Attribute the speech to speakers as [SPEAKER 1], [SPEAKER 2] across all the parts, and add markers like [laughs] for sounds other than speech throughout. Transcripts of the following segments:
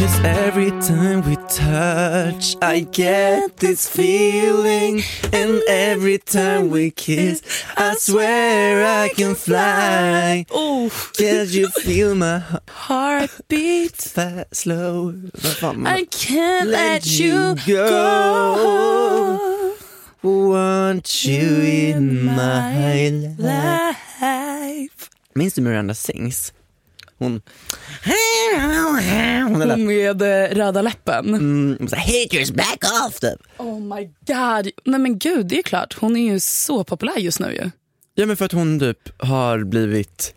[SPEAKER 1] Cause every time we touch, I get this feeling. And every time we kiss, I swear I can fly.
[SPEAKER 2] Oh,
[SPEAKER 1] Can you feel my heart
[SPEAKER 2] heartbeat.
[SPEAKER 1] fast, slow? Vad fan,
[SPEAKER 2] I can't let,
[SPEAKER 1] Let
[SPEAKER 2] you
[SPEAKER 1] you
[SPEAKER 2] go.
[SPEAKER 1] want you in my life.
[SPEAKER 2] life.
[SPEAKER 1] Minns du Miranda Sings? Hon... Hon
[SPEAKER 2] Hon
[SPEAKER 1] är
[SPEAKER 2] Med eh, röda läppen.
[SPEAKER 1] Hon sa haters back off typ.
[SPEAKER 2] Oh my god. Nej men gud, det är klart. Hon är ju så populär just nu ju.
[SPEAKER 1] Ja men för att hon typ har blivit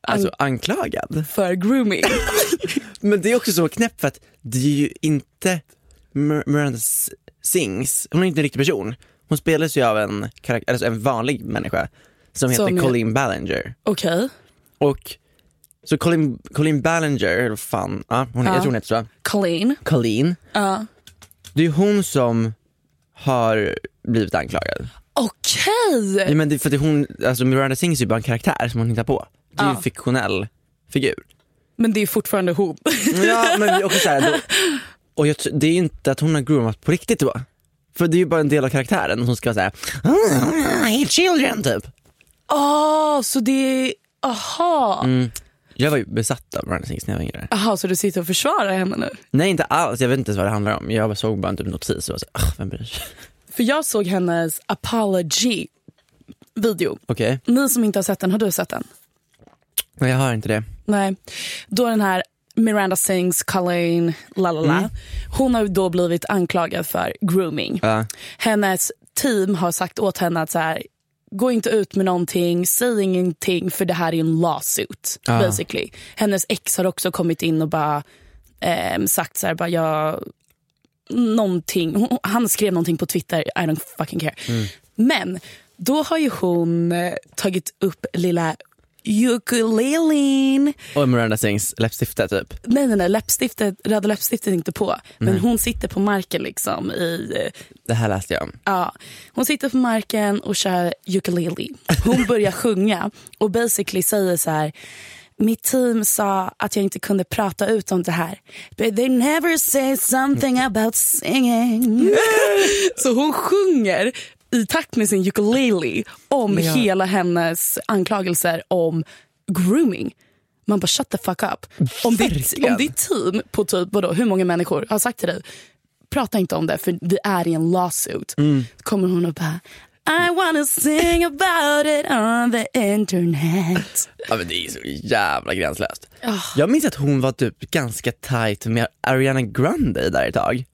[SPEAKER 1] alltså, anklagad.
[SPEAKER 2] För grooming.
[SPEAKER 1] Men det är också så knäppt för att det är ju inte Mir- Miranda S- Sings, hon är inte en riktig person. Hon spelas ju av en, karaktär, alltså en vanlig människa som heter
[SPEAKER 2] Som är-
[SPEAKER 1] Colleen Ballinger.
[SPEAKER 2] [laughs] Okej.
[SPEAKER 1] Och så Colleen, Colleen Ballinger, eller vad fan, ja, hon, jag tror hon heter så.
[SPEAKER 2] Colleen.
[SPEAKER 1] Colleen.
[SPEAKER 2] Ja.
[SPEAKER 1] Det är ju hon som har blivit anklagad.
[SPEAKER 2] Okej.
[SPEAKER 1] Ja, men det, är för att det är hon, alltså Miranda Sings är ju bara en karaktär som hon hittar på. Det är ju
[SPEAKER 2] Ja.
[SPEAKER 1] en fiktionell figur.
[SPEAKER 2] Men det är fortfarande [laughs] hon.
[SPEAKER 1] Ja, men [laughs] vi- också så här, då, och jag, tr- det är ju inte att hon har groomat på riktigt då. För det är ju bara en del av karaktären som ska säga hate children typ.
[SPEAKER 2] Åh, Ah, så det är... Aha.
[SPEAKER 1] Jag var ju besatt av Miranda Sings när jag var yngre.
[SPEAKER 2] Mm. Aha, så du sitter och försvarar henne nu?
[SPEAKER 1] Nej inte alls, jag vet inte ens vad det handlar om. Jag såg bara en typ notis och var så, här, "Ugh, vem bryr sig? [laughs]
[SPEAKER 2] För jag såg hennes apology-video.
[SPEAKER 1] Okej,
[SPEAKER 2] Ni som inte har sett den, har du sett den?
[SPEAKER 1] men jag har inte det.
[SPEAKER 2] Nej. Då den här Miranda Sings, Colleen, la la la. Hon har ju då blivit anklagad för grooming.
[SPEAKER 1] Ja.
[SPEAKER 2] Hennes team har sagt åt henne att så här, gå inte ut med någonting, säg ingenting för det här är en lawsuit. Basically. Hennes ex har också kommit in och bara ehm, sagt så här, bara jag någonting. Hon, han skrev någonting på Twitter, I don't fucking care. Men då har ju hon eh, tagit upp lilla ukulelen.
[SPEAKER 1] Och Miranda Sings läppstifte typ.
[SPEAKER 2] Nej, nej, nej, läppstiftet, röda läppstiftet är inte på. Men hon sitter på marken liksom i... eh,
[SPEAKER 1] Det här läste jag om.
[SPEAKER 2] Ja, hon sitter på marken och kör ukulele. Hon börjar sjunga och basically säger så här. Mitt team sa att jag inte kunde prata ut om det här. But they never say something about singing. Så hon sjunger i takt med sin ukulele om
[SPEAKER 1] Ja.
[SPEAKER 2] hela hennes anklagelser om grooming. Man bara shut the fuck up. Om ditt,
[SPEAKER 1] Verkligen.
[SPEAKER 2] om ditt team på typ, vadå, hur många människor har sagt till dig prata inte om det för vi är i en lawsuit. Kommer hon och bara I wanna sing about it on the internet.
[SPEAKER 1] Ja men det är ju så jävla gränslöst. Jag minns att hon var typ ganska tight med Ariana Grande där ett tag.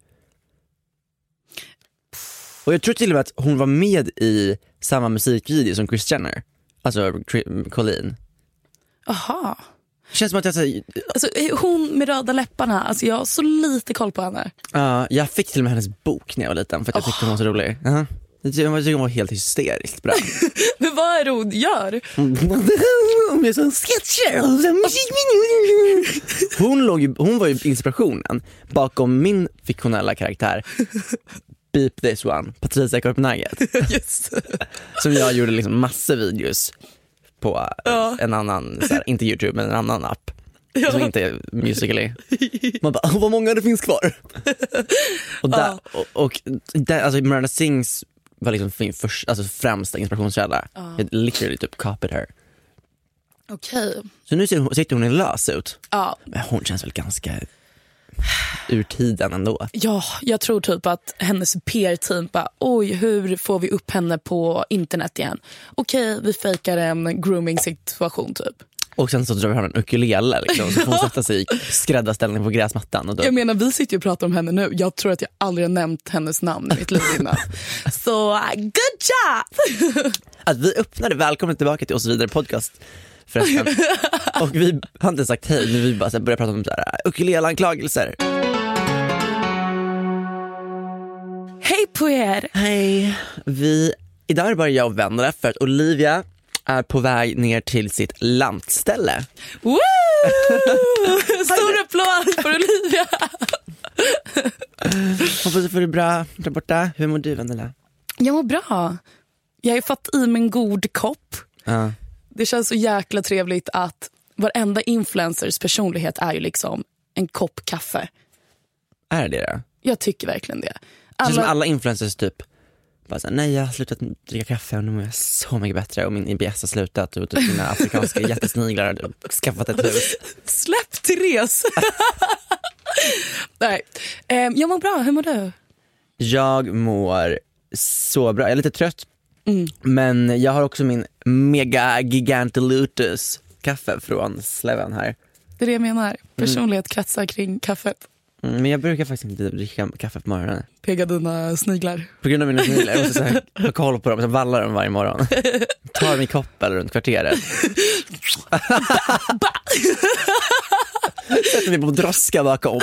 [SPEAKER 1] Och jag tror till och med att hon var med i samma musikvideo som Chris Jenner. Alltså Cri- Colleen.
[SPEAKER 2] Aha.
[SPEAKER 1] Känns som att jag säger,
[SPEAKER 2] Alltså, hon med röda läpparna, alltså, jag har så lite koll på henne. [laughs]
[SPEAKER 1] ja, jag fick till och med hennes bok när jag var liten för att jag tyckte hon var så rolig. Ja. Jag tyckte jag tyckte hon var helt hysteriskt bra.
[SPEAKER 2] Men vad är det hon gör?
[SPEAKER 1] Hon är så sketcher. hon är så musik, musik. Hon, låg ju, hon var ju inspirationen bakom min fiktionella karaktär Beep this one, Patricia Korpnagget.
[SPEAKER 2] Just.
[SPEAKER 1] Som jag gjorde liksom massor videos på eh,
[SPEAKER 2] Ja.
[SPEAKER 1] en annan, så här, inte youtube men en annan app.
[SPEAKER 2] Ja.
[SPEAKER 1] Som inte är musically. Man bara, "Åh, vad många det finns
[SPEAKER 2] [laughs]
[SPEAKER 1] kvar. och där, och, och där, alltså Miranda Sings var liksom fin, först, alltså främsta inspirationskälla. Jag literally typ copied her.
[SPEAKER 2] Okej.
[SPEAKER 1] Så nu ser hon- sitter hon i lös ut.
[SPEAKER 2] Ja.
[SPEAKER 1] Men hon känns väl ganska ur tiden ändå.
[SPEAKER 2] ja, jag tror typ att hennes PR-team bara, oj, hur får vi upp henne på internet igen? Okej, vi fejkar en grooming-situation typ.
[SPEAKER 1] Och sen så drar vi fram en ukulele liksom, så får hon sätta sig i skräddarställning på gräsmattan. Och då,
[SPEAKER 2] Jag menar, vi sitter ju och pratar om henne nu. Jag tror att jag aldrig har nämnt hennes namn i mitt liv innan. [laughs] Så, eh, good job!
[SPEAKER 1] att vi öppnade välkommen tillbaka till oss vidare podcast förresten. och vi har inte sagt hej, men vi bara så här börjar prata om så här, äh, ukuleleanklagelser.
[SPEAKER 2] Hej på er!
[SPEAKER 1] Hej. Vi, idag är det bara jag och Vendela för att Olivia är på väg ner till sitt lantställe.
[SPEAKER 2] Woo! [laughs] Stor applåd för Olivia!
[SPEAKER 1] Hoppas du får det bra där borta. Hur mår du Vendela?
[SPEAKER 2] Jag mår bra. Jag har ju fått i mig en god kopp.
[SPEAKER 1] Ja.
[SPEAKER 2] Det känns så jäkla trevligt att varenda influencers personlighet är ju liksom en kopp kaffe.
[SPEAKER 1] Är det det?
[SPEAKER 2] Jag tycker verkligen det.
[SPEAKER 1] Det känns som
[SPEAKER 2] Alla,
[SPEAKER 1] alla influencers typ bara såhär, nej jag har slutat dricka kaffe och nu mår jag så mycket bättre och min IBS har slutat och typ mina afrikanska jättesniglar har typ skaffat ett hus.
[SPEAKER 2] släpp [laughs] Therese! Nej. Ehm, jag mår bra. Hur mår du?
[SPEAKER 1] Jag mår så bra, jag är lite trött men jag har också min mega gigantilutus kaffe från Sleven här.
[SPEAKER 2] Det är det jag menar. Personlighet kretsar kring kaffet.
[SPEAKER 1] Mm, Men jag brukar faktiskt inte dricka kaffe på morgonen.
[SPEAKER 2] Pega dina sniglar.
[SPEAKER 1] På grund av mina sniglar, jag måste så här, ha koll på dem, så vallar dem varje morgon. Tar min koppel runt kvarteret. Sätter mig på droska bakom.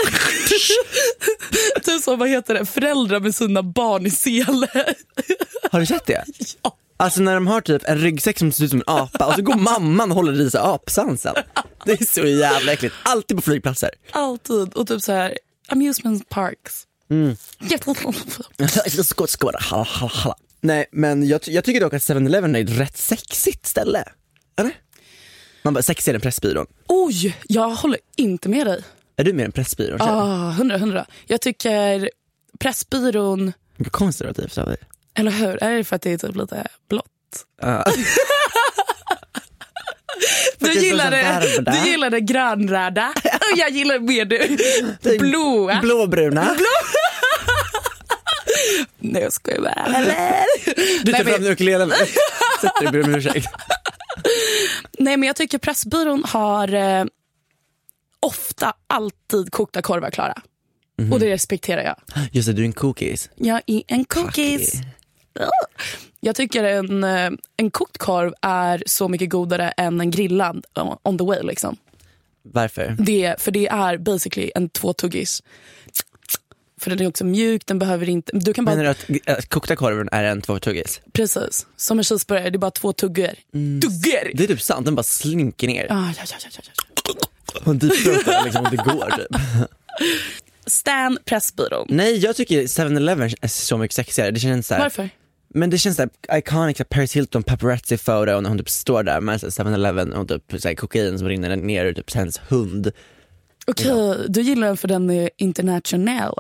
[SPEAKER 2] Typ som vad heter det? föräldrar med sina barn i sele. [laughs]
[SPEAKER 1] Har du sett det? Alltså när de har typ en ryggsäck som ser ut som en apa och så går mamman och håller i sig apsvansen. Det är så jävla äckligt. Alltid på flygplatser.
[SPEAKER 2] Alltid. Och typ så här, amusement parks. Mm.
[SPEAKER 1] Skål, skål, halla, halla, halla. Nej men jag, ty- jag tycker dock att 7-Eleven är ett rätt sexigt ställe. Eller? Man bara, sexigare än Pressbyrån.
[SPEAKER 2] Oj, jag håller inte med dig.
[SPEAKER 1] Är du mer en Pressbyrån? tjej?
[SPEAKER 2] Ah, hundra, hundra. Jag tycker Pressbyrån,
[SPEAKER 1] Vad konservativt av dig.
[SPEAKER 2] eller hur? Är det för att det är typ lite blått?
[SPEAKER 1] det är
[SPEAKER 2] [laughs] du, gillar
[SPEAKER 1] så
[SPEAKER 2] det,
[SPEAKER 1] varmt där.
[SPEAKER 2] du gillar det grönröda och jag gillar mer du blåa.
[SPEAKER 1] Blåbruna.
[SPEAKER 2] Nej jag skojar bara. Eller?
[SPEAKER 1] Du tar
[SPEAKER 2] Nej, men-
[SPEAKER 1] fram ukulelen. Sätter dig och ber om ursäkt.
[SPEAKER 2] [laughs] Nej men jag tycker Pressbyrån har eh, ofta alltid kokta korvar klara.
[SPEAKER 1] Mhm.
[SPEAKER 2] Och det respekterar jag.
[SPEAKER 1] Just det, du är en cookies.
[SPEAKER 2] Jag är en cookies. Jag tycker en, eh, en kokt korv är så mycket godare än en grillad eh, on the way. Liksom.
[SPEAKER 1] Varför?
[SPEAKER 2] Det, för det är basically en två tuggis. För den är också mjuk, den behöver inte... Du kan bara,
[SPEAKER 1] Menar du att, att kokta korven är en tvåtuggis?
[SPEAKER 2] Precis, som en cheeseburgare, det är bara två tuggar. Tuggar!
[SPEAKER 1] Det är typ sant, den bara slinker ner.
[SPEAKER 2] Ah, ja, ja, ja, ja, ja.
[SPEAKER 1] Hon deepfroatar liksom om det går typ. [laughs]
[SPEAKER 2] Stan Pressbyrån.
[SPEAKER 1] Nej, jag tycker 7-Eleven är så mycket sexigare. Det känns så här,
[SPEAKER 2] Varför?
[SPEAKER 1] Men det känns såhär iconic, så här Paris Hilton paparazzi foto när hon typ står där med så här 7-Eleven och typ så här kokain som rinner ner ur typ hennes hund.
[SPEAKER 2] Okej, du gillar den för den är internationell.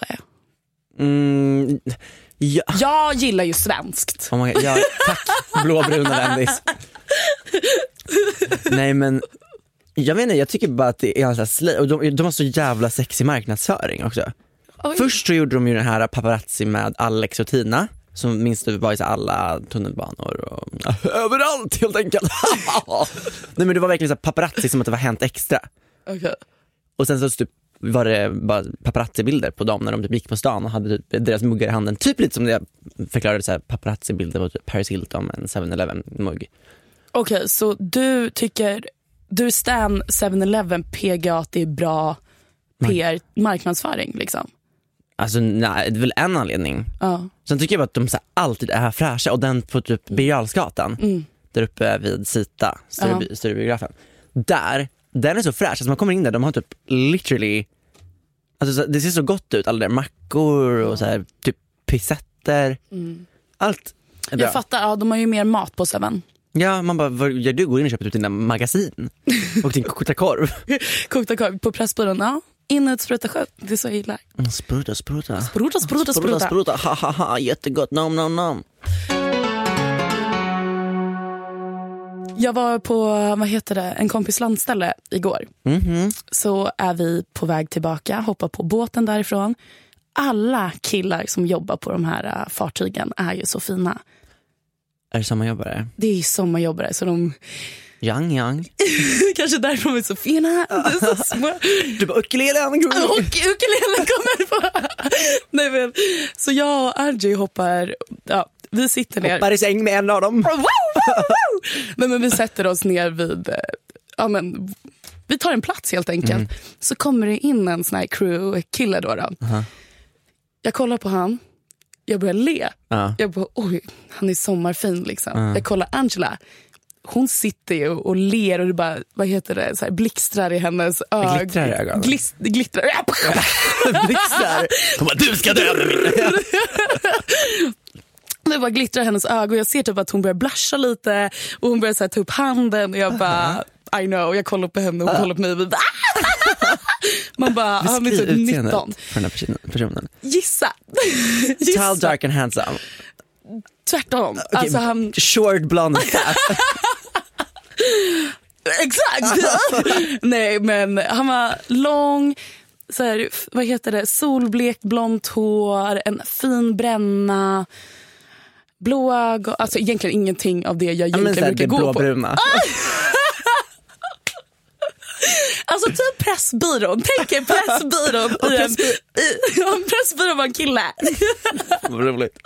[SPEAKER 1] Mm, ja.
[SPEAKER 2] Jag gillar ju svenskt.
[SPEAKER 1] Oh my God. Ja, tack blåbruna vändis. Nej men, jag menar jag tycker bara att det är ganska slay och de, de har så jävla sexig marknadsföring också.
[SPEAKER 2] Oj.
[SPEAKER 1] Först så gjorde de ju den här paparazzi med Alex och Tina som minns du var i så alla tunnelbanor och överallt helt enkelt. [laughs] Nej men det var verkligen så här paparazzi som att det var Hänt Extra.
[SPEAKER 2] Okej.
[SPEAKER 1] Och sen så typ var det bara paparazzi-bilder på dem när de typ gick på stan och hade typ deras muggar i handen. Typ lite som det jag förklarade, så här, paparazzi-bilder på typ Paris Hilton med en 7-Eleven-mugg.
[SPEAKER 2] Okej, så du tycker Du Stan 7-Eleven, PGA, att det är bra PR, marknadsföring. Liksom.
[SPEAKER 1] Alltså nej, det är väl en anledning.
[SPEAKER 2] Ja. Mm.
[SPEAKER 1] Sen tycker jag bara att de så här, alltid är fräscha och den på typ Birger Jarlsgatan, där uppe vid Sita, Sture- Sture biografen. Där, den är så fräsch, alltså man kommer in där, de har typ literally, alltså så- det ser så gott ut, alla där mackor och så här, typ pisetter. Allt är bra.
[SPEAKER 2] Mm. Jag fattar, ja, de har ju mer mat på 7.
[SPEAKER 1] Ja, man bara, vad gör du? Går in och köper ut dina magasin och din kokta [laughs] korv.
[SPEAKER 2] Kokta korv på Pressbyrån, ja. In och ut spruta själv. Det är så jag gillar.
[SPEAKER 1] Mm, Spruta, spruta.
[SPEAKER 2] Spruta, spruta,
[SPEAKER 1] Spruta,
[SPEAKER 2] spruta.
[SPEAKER 1] spruta, ha ha ha, jättegott, nom nom nom.
[SPEAKER 2] Jag var på vad heter det, en kompis landställe igår.
[SPEAKER 1] Mhm.
[SPEAKER 2] Så är vi på väg tillbaka, hoppar på båten därifrån. Alla killar som jobbar på de här äh, fartygen är ju så fina.
[SPEAKER 1] Är det sommarjobbare?
[SPEAKER 2] Det är ju sommarjobbare, så de [laughs]
[SPEAKER 1] Yang yang.
[SPEAKER 2] kanske därför de är så fina. Det är så små.
[SPEAKER 1] Du bara, ukulelen!
[SPEAKER 2] Och ukulelen kommer på. [laughs] Nej, men, så jag och Arji hoppar, ja, vi sitter ner.
[SPEAKER 1] Hoppar i säng med en av dem.
[SPEAKER 2] Wow, wow, wow. Nej, men vi sätter oss ner vid... eh, Ja, men, vi tar en plats helt enkelt.
[SPEAKER 1] Mm.
[SPEAKER 2] Så kommer det in en sån här crew-kille. Då, då.
[SPEAKER 1] Uh-huh.
[SPEAKER 2] Jag kollar på han. Jag börjar le.
[SPEAKER 1] Ja.
[SPEAKER 2] Jag bara, oj, han är sommarfin. Liksom. Jag kollar Angela. Hon sitter ju och ler och det bara, vad heter det, så här, blixtrar i hennes ögon.
[SPEAKER 1] glittrar i ögonen.
[SPEAKER 2] Glist, glittrar.
[SPEAKER 1] [laughs] Blixtar. Hon bara, du ska dö med mig.
[SPEAKER 2] Det bara glittrar i hennes ögon. Jag ser typ att hon börjar blusha lite och hon börjar så här, ta upp handen. Och jag bara, I know. Jag kollar på henne och
[SPEAKER 1] Ah.
[SPEAKER 2] hon kollar på mig. Vi bara, "Ah!" Man bara, han är
[SPEAKER 1] Beskriv
[SPEAKER 2] typ
[SPEAKER 1] utseendet
[SPEAKER 2] 19.
[SPEAKER 1] för den här personen- personen.
[SPEAKER 2] Gissa!
[SPEAKER 1] [laughs] Tall,
[SPEAKER 2] Gissa.
[SPEAKER 1] dark and handsome.
[SPEAKER 2] Tvärtom. Alltså, han,
[SPEAKER 1] Short, blond
[SPEAKER 2] [laughs]
[SPEAKER 1] and fat.
[SPEAKER 2] exakt! [laughs] Nej, men han var lång, så här, f- vad heter det, solblekt blont hår, en fin bränna. Blåa ögon, alltså egentligen ingenting av det jag
[SPEAKER 1] Ja,
[SPEAKER 2] egentligen
[SPEAKER 1] men såhär,
[SPEAKER 2] brukar
[SPEAKER 1] det
[SPEAKER 2] gå på. Ah!
[SPEAKER 1] blåbruna.
[SPEAKER 2] Alltså typ Pressbyrån. Tänk er
[SPEAKER 1] [laughs]
[SPEAKER 2] Pressbyrån i en, i, ja, en Pressbyrån var en kille.
[SPEAKER 1] Vad roligt.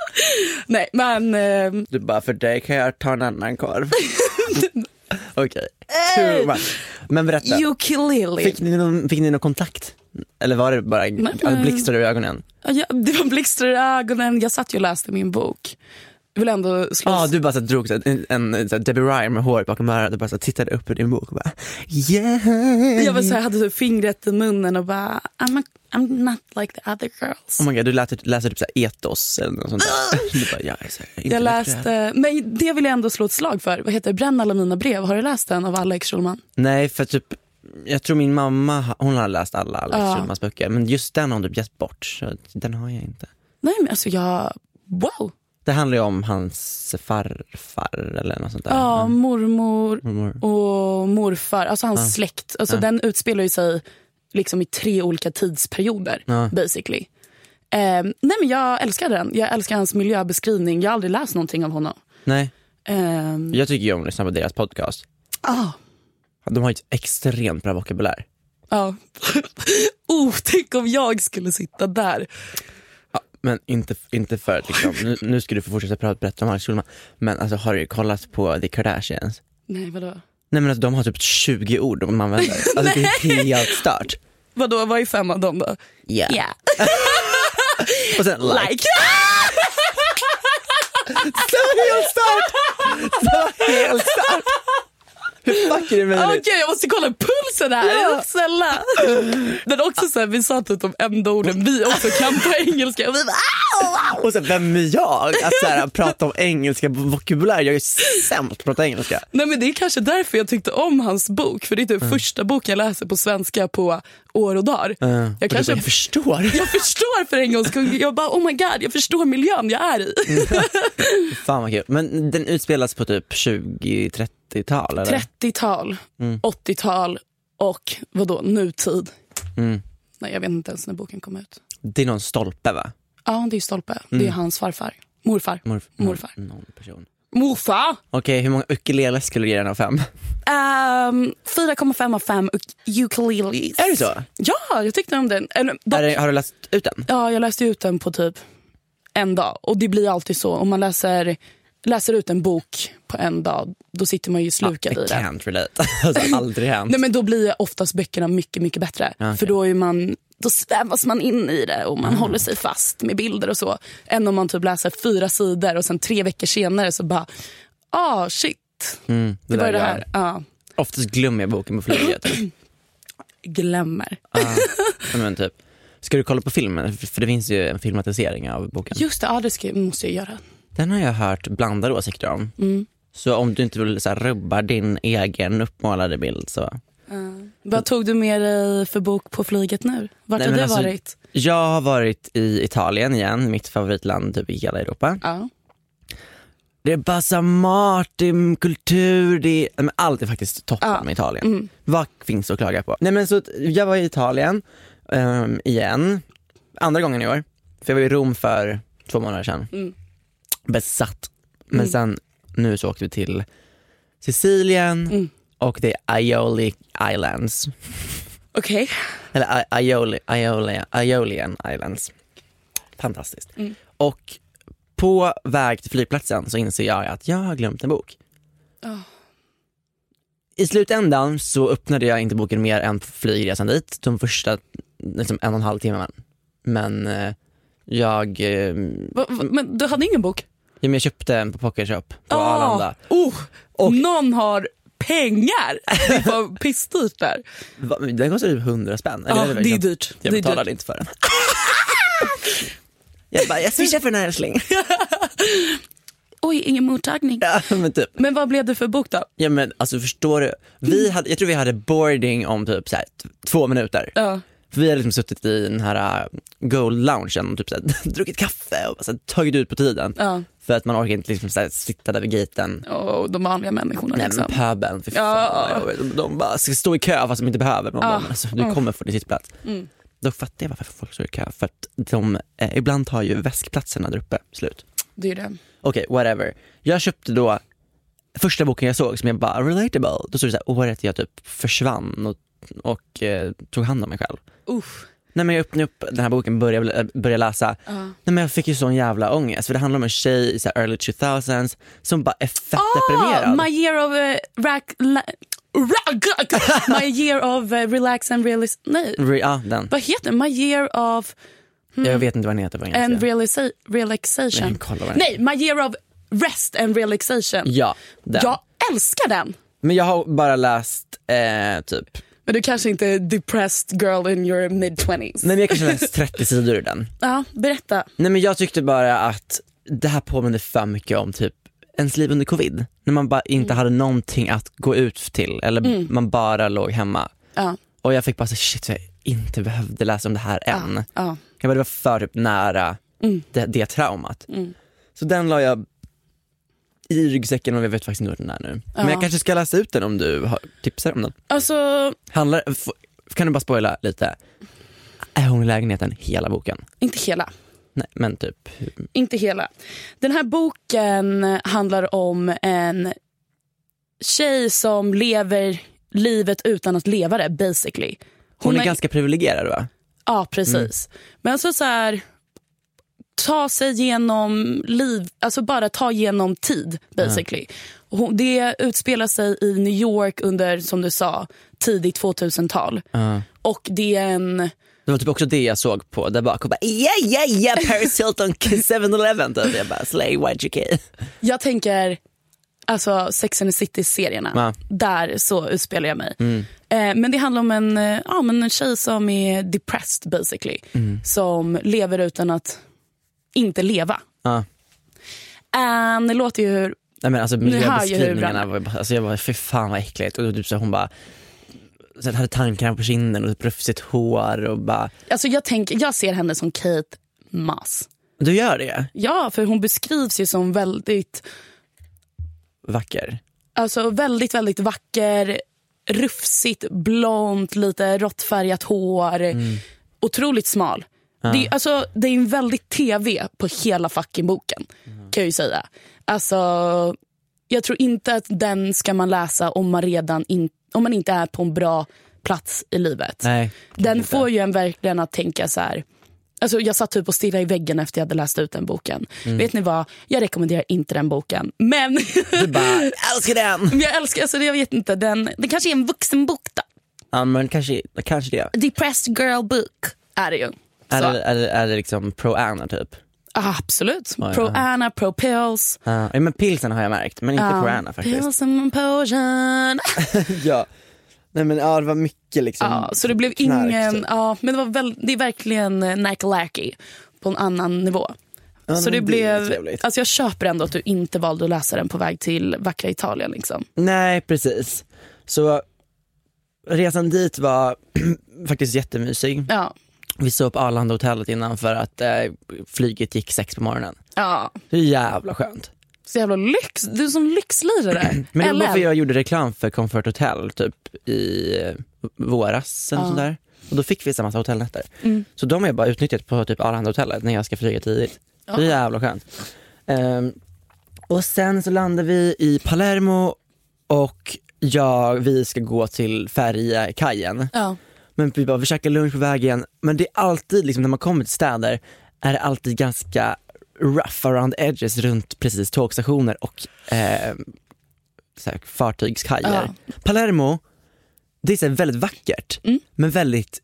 [SPEAKER 2] Nej, men eh,
[SPEAKER 1] Du bara, för dig kan jag ta en annan
[SPEAKER 2] [laughs]
[SPEAKER 1] korv. Okej. Too much. Men berätta,
[SPEAKER 2] ukulele.
[SPEAKER 1] fick ni, någon, fick ni någon kontakt? Eller var det bara
[SPEAKER 2] men-
[SPEAKER 1] blixtar i ögonen?
[SPEAKER 2] Ja, jag- det var blixtar i ögonen. Jag satt ju och läste min bok. Jag vill ändå slå...
[SPEAKER 1] Ja, ah, du bara så här, drog så här, en, en, så här, Debbie Ryan med håret bakom örat och bara så här, tittade upp ur din bok och bara yeah.
[SPEAKER 2] Jag var så här, hade typ fingret i munnen och bara I'm, a, I'm not like the other girls.
[SPEAKER 1] Oh my god, du läser, läser typ så här etos eller något sånt där. Du bara, ja, jag, är så här,
[SPEAKER 2] Ah! Jag
[SPEAKER 1] intellektuell.
[SPEAKER 2] läste, men det vill jag ändå slå ett slag för. Vad heter det? Bränn alla mina brev. Har du läst den av Alex Schulman?
[SPEAKER 1] Nej, för typ, jag tror min mamma, hon har läst alla Alex Schulmans böcker, men just den har hon typ gett bort, så den har jag inte.
[SPEAKER 2] Nej men alltså jag, wow.
[SPEAKER 1] Det handlar ju om hans farfar eller något sånt där.
[SPEAKER 2] Ja, mormor
[SPEAKER 1] Mormor.
[SPEAKER 2] och morfar, alltså hans släkt. Alltså Den utspelar ju sig liksom i tre olika tidsperioder. basically. Ehm, nej men Jag älskar den. Jag älskar hans miljöbeskrivning. Jag har aldrig läst någonting av honom.
[SPEAKER 1] Nej,
[SPEAKER 2] Ehm,
[SPEAKER 1] jag tycker ju om att lyssna på deras podcast.
[SPEAKER 2] ah,
[SPEAKER 1] De har ju ett extremt bra vokabulär.
[SPEAKER 2] ja. [laughs] oh, tänk om jag skulle sitta där.
[SPEAKER 1] Men inte, inte för att liksom, nu, nu ska du få fortsätta prata, berätta om Alex Schulman. Men alltså har du ju kollat på The Kardashians?
[SPEAKER 2] Nej, vadå?
[SPEAKER 1] Nej men alltså de har typ 20 ord de använder. Alltså det är helt stört.
[SPEAKER 2] Vadå, vad är fem av dem då?
[SPEAKER 1] Yeah. Och sen like.
[SPEAKER 2] [laughs] Like.
[SPEAKER 1] [laughs] Det var helt stört! Det var helt stört! Hur fuck är det
[SPEAKER 2] Åh
[SPEAKER 1] möjligt?
[SPEAKER 2] gud, jag måste kolla pulsen här. Ja. Snälla. Men också så här, vi sa typ de enda orden vi också kan på [laughs] engelska. Och vi bara, "Au, au."
[SPEAKER 1] Och sen vem är jag att så här, prata om engelska vokabulär? Jag är ju sämst på att prata engelska.
[SPEAKER 2] Nej, men det är kanske därför jag tyckte om hans bok. För det är typ
[SPEAKER 1] Mm.
[SPEAKER 2] första boken jag läser på svenska på år och dagar.
[SPEAKER 1] Mm. Och du
[SPEAKER 2] Jag, kanske,
[SPEAKER 1] bara, jag förstår.
[SPEAKER 2] [laughs] jag förstår för en gångs skull. Jag bara, oh my god, jag förstår miljön jag är i.
[SPEAKER 1] Mm. Fan vad kul. Men den utspelas på typ 20-30-tal eller?
[SPEAKER 2] 30-tal,
[SPEAKER 1] Mm.
[SPEAKER 2] 80-tal och vadå, nutid.
[SPEAKER 1] Mm.
[SPEAKER 2] Nej, jag vet inte ens när boken kom ut.
[SPEAKER 1] Det är någon stolpe va?
[SPEAKER 2] Ja, det är Stolpe. Det är hans farfar. Morfar.
[SPEAKER 1] Mm. Morf- Mm.
[SPEAKER 2] Morfar.
[SPEAKER 1] Någon person.
[SPEAKER 2] Morfar!
[SPEAKER 1] Okej, hur många ukuleles skulle du ge den av fem?
[SPEAKER 2] Ehm, 4,5 av 5 ukuleles.
[SPEAKER 1] Är det så?
[SPEAKER 2] Ja, jag tyckte om den. Eller, dock,
[SPEAKER 1] Är det, har du läst ut den?
[SPEAKER 2] Ja, jag läste ut den på typ en dag. Och det blir alltid så. Om man läser läser ut en bok på en dag, då sitter man ju slukad i
[SPEAKER 1] I
[SPEAKER 2] den.
[SPEAKER 1] can't relate. [laughs] alltså, aldrig hänt.
[SPEAKER 2] Nej, men då blir oftast böckerna mycket, mycket bättre. För då, är man, då svävas man in i det och man
[SPEAKER 1] Ah.
[SPEAKER 2] håller sig fast med bilder och så. Än om man typ läser fyra sidor och sen tre veckor senare så bara, ah shit. det, var
[SPEAKER 1] där
[SPEAKER 2] ju det
[SPEAKER 1] gör
[SPEAKER 2] här. Ja,
[SPEAKER 1] Oftast glömmer jag boken på flyget.
[SPEAKER 2] [laughs] glömmer.
[SPEAKER 1] Ja, men typ. Ska du kolla på filmen? För det finns ju en filmatisering av boken.
[SPEAKER 2] Just det, ja, det ska, måste jag göra.
[SPEAKER 1] Den har jag hört blandade åsikter om.
[SPEAKER 2] Mm.
[SPEAKER 1] Så om du inte vill så här, rubba din egen uppmålade bild så.
[SPEAKER 2] Vad tog du med dig för bok på flyget nu? Vart
[SPEAKER 1] Nej,
[SPEAKER 2] har
[SPEAKER 1] men
[SPEAKER 2] du
[SPEAKER 1] alltså,
[SPEAKER 2] varit?
[SPEAKER 1] Jag har varit i Italien igen, mitt favoritland typ i hela Europa.
[SPEAKER 2] Ja.
[SPEAKER 1] Det är massa mat, det är kultur, det är... Nej, Men allt är faktiskt toppen med Italien. Vad finns att klaga på? Nej men så att jag var i Italien ehm, igen, andra gången i år. För jag var i Rom för två månader sedan. Besatt. Men sen nu så åkte vi till Sicilien
[SPEAKER 2] Mm.
[SPEAKER 1] och det är Aioli Islands.
[SPEAKER 2] Okej.
[SPEAKER 1] Eller I- Aioli, Aioli, Aiolian Islands. Fantastiskt.
[SPEAKER 2] Mm.
[SPEAKER 1] Och på väg till flygplatsen så inser jag att jag har glömt en bok. I slutändan så öppnade jag inte boken mer än på flygresan dit, de första liksom, en och en halv timmen. Men eh, jag, eh, ja,
[SPEAKER 2] Va- va- Men du hade ingen bok?
[SPEAKER 1] men jag köpte en på Pocketshop på
[SPEAKER 2] Ah,
[SPEAKER 1] Arlanda.
[SPEAKER 2] Oh,
[SPEAKER 1] Och-
[SPEAKER 2] Någon har pengar! Det var pissdyrt där.
[SPEAKER 1] Va- Den kostade typ 100 spänn. Eller
[SPEAKER 2] Ja,
[SPEAKER 1] jag vet inte.
[SPEAKER 2] det är dyrt.
[SPEAKER 1] Jag
[SPEAKER 2] Det är
[SPEAKER 1] betalade
[SPEAKER 2] dyrt.
[SPEAKER 1] inte för
[SPEAKER 2] [laughs]
[SPEAKER 1] den. jag bara, jag swishar för den här älskling. [laughs]
[SPEAKER 2] Oj, ingen mottagning.
[SPEAKER 1] Ja, men typ.
[SPEAKER 2] Men vad blev det för bok då?
[SPEAKER 1] Ja men alltså förstår du? Vi
[SPEAKER 2] Mm.
[SPEAKER 1] hade, jag tror vi hade boarding om typ så här, t- två minuter.
[SPEAKER 2] Ja.
[SPEAKER 1] För vi hade liksom suttit i den här äh, gold loungen och typ så här, [laughs] druckit kaffe och så här, tagit ut på tiden.
[SPEAKER 2] Ja.
[SPEAKER 1] För att man orkar inte liksom så här, sitta där vid gaten.
[SPEAKER 2] Och de vanliga människorna
[SPEAKER 1] Nej
[SPEAKER 2] liksom.
[SPEAKER 1] men pöbeln, fy fan
[SPEAKER 2] Ja.
[SPEAKER 1] vad jobbigt. De- De bara ska stå i kö fast de inte behöver. Man bara,
[SPEAKER 2] Ah.
[SPEAKER 1] men alltså,
[SPEAKER 2] Mm.
[SPEAKER 1] du kommer få din sittplats. Då fattar jag varför folk står i kö. För att de, eh, ibland tar ju väskplatserna där uppe slut.
[SPEAKER 2] Det är ju det.
[SPEAKER 1] Okej, whatever. Jag köpte då första boken jag såg som jag bara relatable. Då stod det så här, året jag typ försvann och, och eh, tog hand om mig själv.
[SPEAKER 2] Usch.
[SPEAKER 1] Nej men jag öppnade upp den här boken och började, eh, började läsa. Nej men jag fick ju sån jävla ångest för det handlar om en tjej i så här early 2000s som bara är fett deprimerad.
[SPEAKER 2] Ah, my year of eh, rack, la, rack,
[SPEAKER 1] [laughs]
[SPEAKER 2] My year of eh, relax and realis... Nej,
[SPEAKER 1] Re- ja, den.
[SPEAKER 2] vad heter det? My year of
[SPEAKER 1] Jag vet inte vad den heter på engelska.
[SPEAKER 2] and realisa- relaxation.
[SPEAKER 1] Nej, kolla vad den
[SPEAKER 2] Nej, my year of rest and relaxation.
[SPEAKER 1] Ja, den.
[SPEAKER 2] Jag älskar den.
[SPEAKER 1] Men jag har bara läst eh, typ,
[SPEAKER 2] Men du kanske inte är depressed girl in your mid 20s.
[SPEAKER 1] nej men jag kanske har läst 30 sidor ur den.
[SPEAKER 2] Ja, berätta.
[SPEAKER 1] Nej men jag tyckte bara att det här påminner för mycket om typ ens liv under covid. När man bara
[SPEAKER 2] Mm.
[SPEAKER 1] inte hade någonting att gå ut till eller man bara låg hemma.
[SPEAKER 2] Ja.
[SPEAKER 1] Och jag fick bara så shit jag inte behövde läsa om det här än.
[SPEAKER 2] Ja. Mm.
[SPEAKER 1] Jag bara, det var för typ nära det, det traumat. Så den la jag i ryggsäcken och jag vet faktiskt inte vart den är nu. Men jag kanske ska läsa ut den om du har, tipsar om den.
[SPEAKER 2] Alltså,
[SPEAKER 1] Handlar, f- kan du bara spoila lite? Är hon i lägenheten hela boken?
[SPEAKER 2] inte hela.
[SPEAKER 1] Nej men typ,
[SPEAKER 2] Inte hela. Den här boken handlar om en tjej som lever livet utan att leva det basically.
[SPEAKER 1] hon, är
[SPEAKER 2] har-
[SPEAKER 1] ganska privilegierad va?
[SPEAKER 2] Ja, precis. Men så, så här, ta sig genom liv, alltså bara ta genom tid basically. Hon, det utspelar sig i New York under, som du sa, tidigt 2000-tal. Och det är en...
[SPEAKER 1] Det var typ också det jag såg på där bak och bara yeah yeah yeah Paris Hilton [laughs] 7-Eleven typ. Jag bara slay Y2K.
[SPEAKER 2] Jag tänker alltså Sex and the City-serierna.
[SPEAKER 1] Ja.
[SPEAKER 2] Där så utspelar jag mig. Eh, men det handlar om en, eh, ja, men en tjej som är depressed basically. Som lever utan att inte leva.
[SPEAKER 1] Ja.
[SPEAKER 2] And det låter ju...
[SPEAKER 1] Nej men alltså
[SPEAKER 2] hör ju hur
[SPEAKER 1] miljöbeskrivningarna
[SPEAKER 2] bra-
[SPEAKER 1] var ju bara, alltså jag bara fy fan vad äckligt. Och typ så hon bara så här hade tankarna på kinden och typ rufsigt hår och bara
[SPEAKER 2] Alltså jag, tänker, jag ser henne som Kate Moss.
[SPEAKER 1] du gör det
[SPEAKER 2] Ja, för hon beskrivs ju som väldigt,
[SPEAKER 1] vacker.
[SPEAKER 2] alltså väldigt, väldigt vacker, rufsigt, blont, lite råttfärgat hår. Otroligt smal. Det, är, alltså, det är en väldigt tv på hela fucking boken, kan jag ju säga. Alltså, jag tror inte att den ska man läsa om man, redan in, om man inte är på en bra plats i livet.
[SPEAKER 1] Nej.
[SPEAKER 2] Den får ju en verkligen att tänka så här. Alltså jag satt typ och stirrade i väggen efter jag hade läst ut den boken.
[SPEAKER 1] Mm.
[SPEAKER 2] Vet ni vad, jag rekommenderar inte den boken. Men
[SPEAKER 1] Du bara, älskar den!
[SPEAKER 2] jag [laughs] älskar, alltså jag vet inte, den, den kanske är en vuxenbok då.
[SPEAKER 1] Ja men kanske, kanske det.
[SPEAKER 2] Depressed girl book är det ju. Så,
[SPEAKER 1] Eller, eller, eller liksom pro-Anna typ.
[SPEAKER 2] ah, absolut. pro Anna, pro pills.
[SPEAKER 1] Ja, ja, men pilsen har jag märkt, men inte pro-Anna faktiskt.
[SPEAKER 2] Pills
[SPEAKER 1] [laughs]
[SPEAKER 2] and potion.
[SPEAKER 1] ja. Nej men ja, det var mycket liksom.
[SPEAKER 2] Ja, så det blev
[SPEAKER 1] knark,
[SPEAKER 2] ingen,
[SPEAKER 1] typ.
[SPEAKER 2] ja, men det, var väl, det är verkligen eh, Nike-lacky på en annan nivå. så
[SPEAKER 1] men
[SPEAKER 2] det,
[SPEAKER 1] det är
[SPEAKER 2] blev,
[SPEAKER 1] trevligt.
[SPEAKER 2] alltså jag köper ändå att du inte valde att läsa den på väg till vackra Italien. Liksom.
[SPEAKER 1] Nej precis. Så resan dit var [clears throat] faktiskt jättemysig.
[SPEAKER 2] Ja,
[SPEAKER 1] Vi sov på Arlanda hotellet innan för att eh, flyget gick sex på morgonen.
[SPEAKER 2] ja.
[SPEAKER 1] Det är jävla skönt.
[SPEAKER 2] Så jävla lyx, du är som lyxlirare.
[SPEAKER 1] [clears throat] Men det var bara för
[SPEAKER 2] LL.
[SPEAKER 1] att jag gjorde reklam för Comfort Hotel typ i eh, våras eller sånt där. Och då fick vi så massa hotellnätter. Så de har jag bara utnyttjat på typ Arlanda hotellet när jag ska flyga tidigt. Det är jävla skönt. Ehm, och sen så landar vi i Palermo och jag, vi ska gå till färjekajen.
[SPEAKER 2] Ja.
[SPEAKER 1] Men vi bara, vi käkar lunch på vägen. Men det är alltid, liksom, när man kommer till städer, är det alltid ganska rough around edges runt precis tågstationer och eh, så här, fartygskajer. Palermo, det är så här, väldigt vackert, men väldigt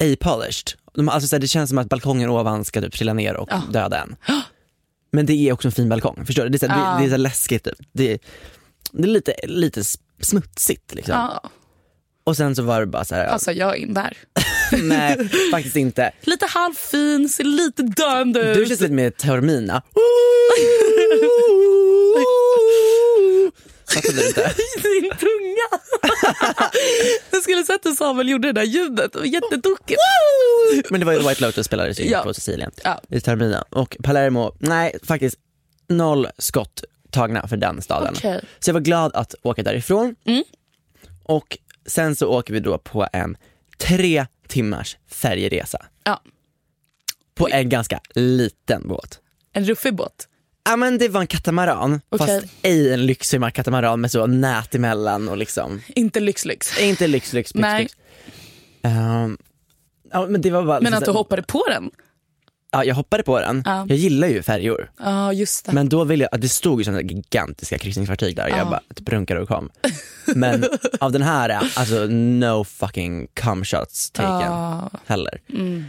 [SPEAKER 1] a-polished. De, har- alltså, så här, det känns som att balkongen ovan ska typ trilla ner och döda en. Men det är också en fin balkong, förstår du? Det är, så här, det, det är så här läskigt, typ. det, är- det är lite, lite smutsigt liksom.
[SPEAKER 2] Ja,
[SPEAKER 1] Och sen så var det bara så här, ja,
[SPEAKER 2] alltså jag är in där.
[SPEAKER 1] [laughs] Nej, faktiskt inte.
[SPEAKER 2] Lite halvfin, ser lite dömd ut.
[SPEAKER 1] Du känns
[SPEAKER 2] [laughs]
[SPEAKER 1] lite mer Taormina. Fattade du inte?
[SPEAKER 2] Din tunga! [laughs] jag skulle sett hur Samuel gjorde det där ljudet, det var jättetokigt.
[SPEAKER 1] Men det var ju White Lotus spelades ju
[SPEAKER 2] Ja.
[SPEAKER 1] på Sicilien
[SPEAKER 2] Ja.
[SPEAKER 1] i Taormina. Och Palermo, nej faktiskt noll skott tagna för den staden.
[SPEAKER 2] Okej.
[SPEAKER 1] Så jag var glad att åka därifrån. Och sen så åker vi då på en tre timmars färjeresa.
[SPEAKER 2] Ja,
[SPEAKER 1] På en ganska liten båt.
[SPEAKER 2] en ruffig båt.
[SPEAKER 1] Ja men det var en katamaran,
[SPEAKER 2] Okej.
[SPEAKER 1] fast ej en lyxig katamaran med så nät emellan och liksom,
[SPEAKER 2] Inte lyx-lyx.
[SPEAKER 1] inte lyx, lyx, lyx,
[SPEAKER 2] Nej.
[SPEAKER 1] lyx. Ehm, ja, men det var bara,
[SPEAKER 2] Men att du hoppade på den?
[SPEAKER 1] Ja, jag hoppade på den.
[SPEAKER 2] Ja.
[SPEAKER 1] Jag gillar ju färjor.
[SPEAKER 2] Ja, just det.
[SPEAKER 1] Men då ville jag, det stod ju sådana gigantiska kryssningsfartyg där, jag bara typ runkade och kom. Men av den här, är alltså no fucking cum shots taken heller.
[SPEAKER 2] Mm.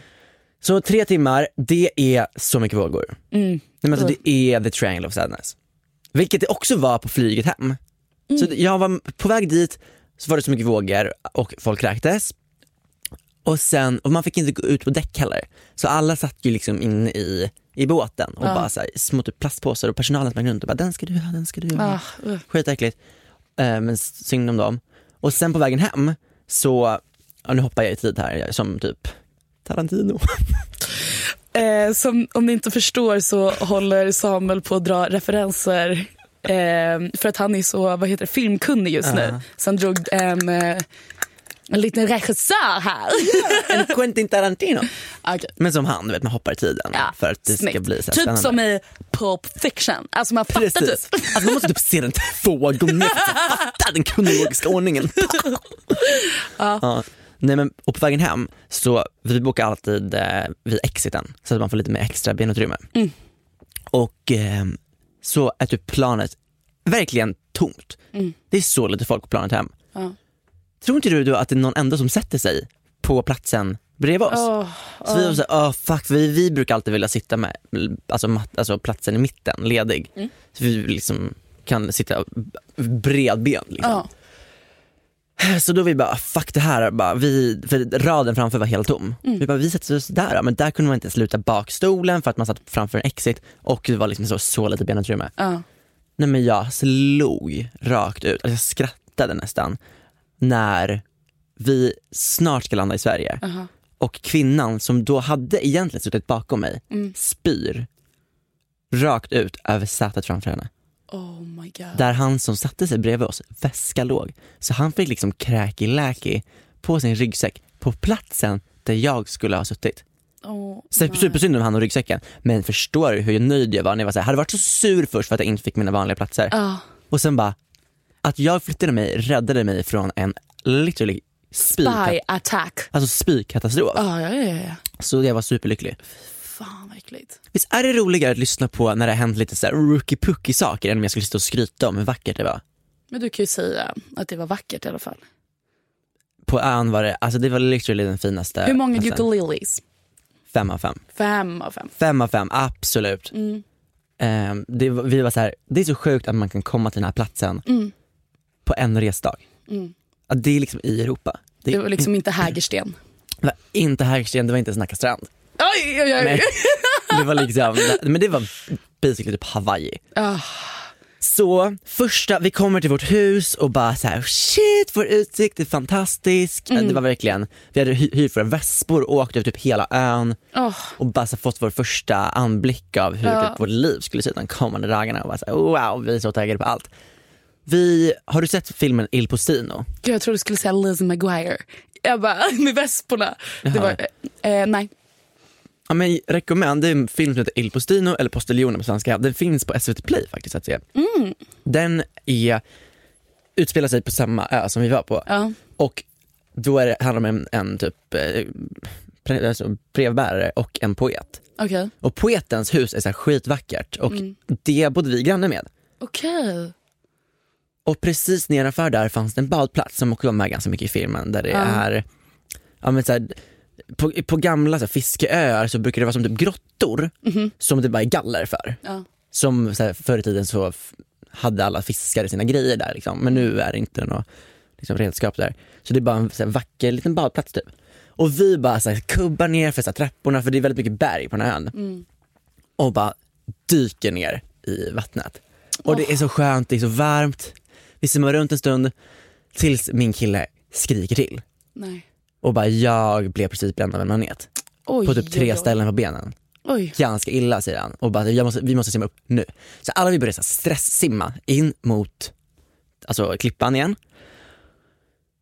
[SPEAKER 1] Så tre timmar, det är så mycket vågor.
[SPEAKER 2] Mm.
[SPEAKER 1] Nej, men alltså, det är the triangle of sadness. Vilket det också var på flyget hem. Så
[SPEAKER 2] Mm.
[SPEAKER 1] jag var på väg dit, så var det så mycket vågor och folk kräktes. Och sen, och man fick inte gå ut på däck heller. Så alla satt ju liksom inne i, i båten och bara så här, små typ plastpåsar och personalen sprang runt och bara den ska du ha, den ska du
[SPEAKER 2] Ah,
[SPEAKER 1] ha. Skitäckligt. Eh, men synd om dem. Och sen på vägen hem så, ja, nu hoppar jag i tid här jag är som typ Tarantino.
[SPEAKER 2] Eh, som, om ni inte förstår så håller Samuel på att dra referenser eh, för att han är så vad heter det, filmkunnig just nu. Så han drog en, eh, en liten
[SPEAKER 1] [laughs]
[SPEAKER 2] regissör här.
[SPEAKER 1] En Quentin Tarantino.
[SPEAKER 2] Okej.
[SPEAKER 1] [laughs] Men som han, du vet man hoppar i tiden för att det ska
[SPEAKER 2] snyggt.
[SPEAKER 1] bli så här
[SPEAKER 2] Typ
[SPEAKER 1] spännande.
[SPEAKER 2] som i Pulp Fiction. Alltså man fattar
[SPEAKER 1] Precis.
[SPEAKER 2] typ.
[SPEAKER 1] Alltså man måste typ se den två gånger för att fatta den kronologiska ordningen. [laughs] ja. Nej, men, och på vägen hem, så vi bokar alltid eh, vid exiten så att man får lite mer extra benutrymme. Och eh, så är typ planet verkligen tomt. Det är så lite folk på planet hem. Tror inte du då att det är någon enda som sätter sig på platsen bredvid oss? Så vi var såhär, oh, fuck, vi, vi brukar alltid vilja sitta med alltså, mat, alltså platsen i mitten, ledig. Så vi liksom kan sitta bredbent. Liksom.
[SPEAKER 2] Ja.
[SPEAKER 1] Så då vi bara, fuck det här, bara, vi, för raden framför var helt tom. Vi bara, vi sätter oss där, då. men där kunde man inte sluta bakstolen för att man satt framför en exit och det var liksom så, så lite benutrymme. Nej men jag slog rakt ut, alltså jag skrattade nästan när vi snart ska landa i Sverige och kvinnan som då hade egentligen suttit bakom mig spyr rakt ut över sätet framför henne.
[SPEAKER 2] Oh my god.
[SPEAKER 1] Där han som satte sig bredvid oss, väska låg. Så han fick liksom kräki-läki på sin ryggsäck på platsen där jag skulle ha suttit.
[SPEAKER 2] Oh.
[SPEAKER 1] Så Supersynd om han och ryggsäcken. Men förstår du hur nöjd jag var när jag var så här, hade varit så sur först för att jag inte fick mina vanliga platser. Och sen bara, att jag flyttade mig räddade mig från en literally
[SPEAKER 2] Spy
[SPEAKER 1] spik,
[SPEAKER 2] attack.
[SPEAKER 1] alltså spykatastrof.
[SPEAKER 2] Ja, ja, ja, ja.
[SPEAKER 1] Så jag var superlycklig.
[SPEAKER 2] Fan vad äckligt.
[SPEAKER 1] Visst är det roligare att lyssna på när det har hänt lite så här rookie-pookie saker än om jag skulle sitta och skryta om hur vackert det var?
[SPEAKER 2] Men du kan ju säga att det var vackert i alla fall.
[SPEAKER 1] På ön var det, alltså det var literally den finaste
[SPEAKER 2] Hur många
[SPEAKER 1] festen.
[SPEAKER 2] ukuleles?
[SPEAKER 1] Fem av fem.
[SPEAKER 2] Fem av fem.
[SPEAKER 1] Fem av fem, absolut. Ehm, det, var- vi var så här, det är så sjukt att man kan komma till den här platsen på en resdag. Att det är liksom i Europa. Det,
[SPEAKER 2] Det var liksom inte Hägersten.
[SPEAKER 1] var inte Hägersten, det var inte Snacka strand.
[SPEAKER 2] Oj, oj, oj.
[SPEAKER 1] Nej. [laughs] Det var liksom, men det var basically typ Hawaii. Så första, vi kommer till vårt hus och bara så här: oh shit vår utsikt är fantastisk. Det var verkligen, vi hade hy- hyrt våra vespor och åkt över typ hela ön
[SPEAKER 2] Åh.
[SPEAKER 1] och bara så här fått vår första anblick av hur typ vårt liv skulle se ut de kommande dagarna och bara så här, oh wow vi är så taggade på allt. Vi, har du sett filmen Il Postino?
[SPEAKER 2] [laughs] Gud, jag trodde du skulle säga Liz Maguire. Jag bara, [laughs] med vesporna. Det var, eh, eh, nej.
[SPEAKER 1] Ja men rekommend, det är en film som heter Il Postino eller Postiljonen på svenska. Den finns på SVT Play faktiskt att se. Den är, utspelar sig på samma ö som vi var på.
[SPEAKER 2] Ja.
[SPEAKER 1] Och då är det, handlar det om en, en typ eh, pre, alltså brevbärare och en poet.
[SPEAKER 2] Okej.
[SPEAKER 1] Och poetens hus är så här skitvackert och det bodde vi grannar med.
[SPEAKER 2] Okej.
[SPEAKER 1] Och precis nedanför där fanns det en badplats som också var med ganska mycket i filmen där det är, ja men så här, på, på gamla så här, fiskeöar så brukar det vara som typ grottor som det bara är galler för.
[SPEAKER 2] Ja.
[SPEAKER 1] Som så här, förr i tiden så f- hade alla fiskare sina grejer där liksom. men nu är det inte några liksom, redskap där. Så det är bara en så här, vacker liten badplats typ. Och vi bara så här, kubbar ner för så här, trapporna för det är väldigt mycket berg på den här ön
[SPEAKER 2] Mm.
[SPEAKER 1] och bara dyker ner i vattnet. Och det är så skönt, det är så varmt. Vi simmar runt en stund tills min kille skriker till
[SPEAKER 2] Nej.
[SPEAKER 1] och bara jag blev precis bränd av en manet
[SPEAKER 2] Oj,
[SPEAKER 1] på typ tre
[SPEAKER 2] oj, oj.
[SPEAKER 1] ställen på benen.
[SPEAKER 2] Oj.
[SPEAKER 1] Ganska illa säger han och bara jag måste, vi måste simma upp nu. Så alla vi började så här stresssimma in mot alltså, klippan igen.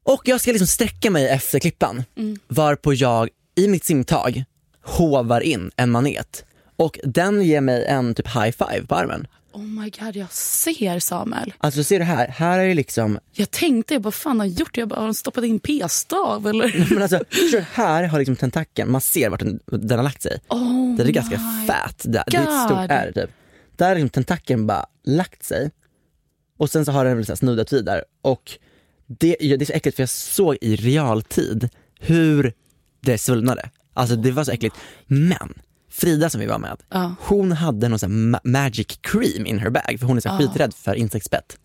[SPEAKER 1] Och jag ska liksom sträcka mig efter klippan varpå jag i mitt simtag hovar in en manet och den ger mig en typ high five på armen.
[SPEAKER 2] Oh my god, jag ser Samuel.
[SPEAKER 1] Alltså ser du här, här är det liksom, [laughs]
[SPEAKER 2] Jag tänkte, jag bara, fan har han gjort? Jag bara, har han stoppat in p-stav eller?
[SPEAKER 1] [laughs] men alltså förstår du, här har liksom tentakeln, man ser vart den, den har lagt sig.
[SPEAKER 2] Oh
[SPEAKER 1] Den är ganska
[SPEAKER 2] my-
[SPEAKER 1] fät, där. det är ett
[SPEAKER 2] God.
[SPEAKER 1] stort ärr typ. Där har liksom tentakeln bara lagt sig och sen så har den väl så här snuddat vid där och det, ja, det är så äckligt för jag såg i realtid hur det svullnade. Alltså det var så äckligt. Men Frida som vi var med,
[SPEAKER 2] Ja.
[SPEAKER 1] hon hade någon sån här ma- magic cream in her bag för hon är så här skiträdd för insektsbett.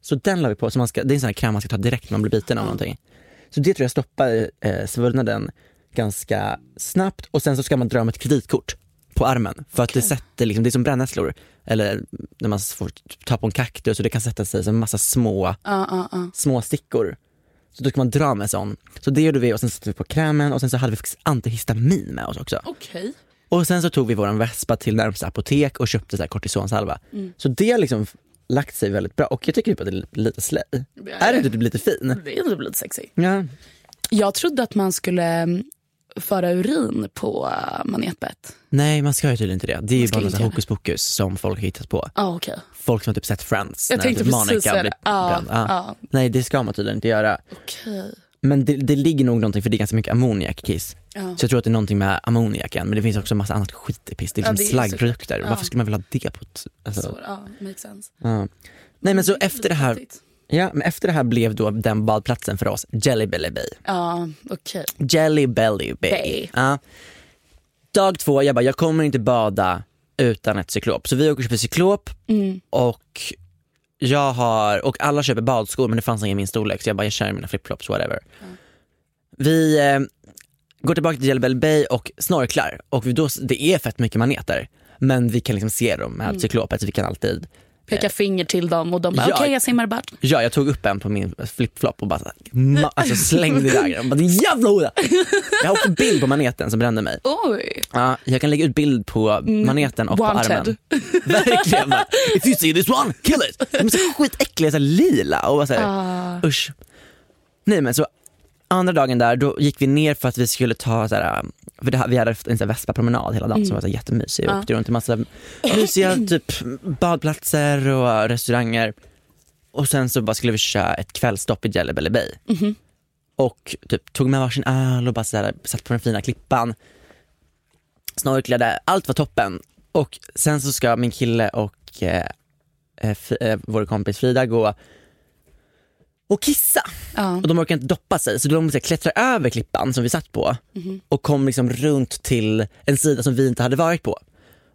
[SPEAKER 1] Så den la vi på, så man ska, det är en sån här kräm man ska ta direkt när man blir biten av någonting. Så det tror jag stoppar eh, svullnaden ganska snabbt och sen så ska man dra med ett kreditkort på armen för att det sätter liksom, det är som brännässlor eller när man får ta på en kaktus och det kan sätta sig som en massa små, små stickor. Så då ska man dra med en sån. Så det gjorde vi och sen satte vi på krämen och sen så hade vi faktiskt antihistamin med oss också.
[SPEAKER 2] Okej.
[SPEAKER 1] Och sen så tog vi våran vespa till närmsta apotek och köpte så här kortisonsalva. Så det har liksom lagt sig väldigt bra och jag tycker typ att det är lite slay. Är det inte typ lite fin?
[SPEAKER 2] Det är typ lite sexy.
[SPEAKER 1] Ja.
[SPEAKER 2] Jag trodde att man skulle mm, föra urin på äh, manetbett.
[SPEAKER 1] Nej man ska ju tydligen inte det. Det är ju
[SPEAKER 2] ska
[SPEAKER 1] bara
[SPEAKER 2] inte
[SPEAKER 1] något
[SPEAKER 2] göra
[SPEAKER 1] hokus pokus som folk har hittat på.
[SPEAKER 2] Ja, okej.
[SPEAKER 1] Folk som har typ sett Friends.
[SPEAKER 2] Jag
[SPEAKER 1] när
[SPEAKER 2] tänkte
[SPEAKER 1] typ
[SPEAKER 2] precis säga det. Ja,
[SPEAKER 1] bränd. Ja.
[SPEAKER 2] ja.
[SPEAKER 1] Nej det ska man tydligen inte göra.
[SPEAKER 2] Okej.
[SPEAKER 1] Men det, det ligger nog någonting för det är ganska mycket ammoniak i kiss.
[SPEAKER 2] Ja.
[SPEAKER 1] Så jag tror att det är någonting med ammoniaken men det finns också en massa annat skit i piss. Det är
[SPEAKER 2] Ja,
[SPEAKER 1] liksom
[SPEAKER 2] det är så-
[SPEAKER 1] slaggprodukter.
[SPEAKER 2] ja.
[SPEAKER 1] Varför skulle man vilja ha det på ett... Alltså,
[SPEAKER 2] Så, ja, makes sense. Mm,
[SPEAKER 1] ja. Nej men så efter det här
[SPEAKER 2] Fattigt.
[SPEAKER 1] Ja, men efter det här blev då den badplatsen för oss Jelly Belly Bay.
[SPEAKER 2] Ja, okej.
[SPEAKER 1] Jelly Belly Bay.
[SPEAKER 2] Bay.
[SPEAKER 1] Ja. Dag två, jag bara, jag kommer inte bada utan ett cyklop. Så vi åker och köper cyklop och jag har, och alla köper badskor men det fanns ingen i min storlek så jag bara, jag kör i mina flipflops, whatever. Vi eh, går tillbaka till Jelly Belly Bay och snorklar och vi då, det är fett mycket maneter men vi kan liksom se dem med cyklopet så vi kan alltid
[SPEAKER 2] Peka finger till dem och de bara,
[SPEAKER 1] Ja.
[SPEAKER 2] okej jag simmar bort.
[SPEAKER 1] Ja, jag tog upp en på min flipflop och bara så här, ma- alltså, slängde iväg den. Bara, Din jävla hora! Jag har också bild på maneten som brände mig.
[SPEAKER 2] Oj,
[SPEAKER 1] Ja, jag kan lägga ut bild på maneten och på
[SPEAKER 2] Wanted.
[SPEAKER 1] armen. [laughs] Verkligen! If you see this one, kill it! De är så skitäckliga, så här lila och bara så här, usch. Nej men så andra dagen där, då gick vi ner för att vi skulle ta så här, um, för det här, vi hade haft en så här vespapromenad hela dagen som var så här jättemysig. Vi åkte runt till massa mysiga typ badplatser och restauranger. Och sen så bara skulle vi köra ett kvällsstopp i Jelly Belly Bay. och typ tog med varsin öl och bara sådär, satt på den fina klippan. Snorklade, allt var toppen. Och sen så ska min kille och eh, eh, F- eh, vår kompis Frida gå och kissa.
[SPEAKER 2] Ja.
[SPEAKER 1] Och de orkar inte doppa sig så de måste klättra över klippan som vi satt på och kom liksom runt till en sida som vi inte hade varit på.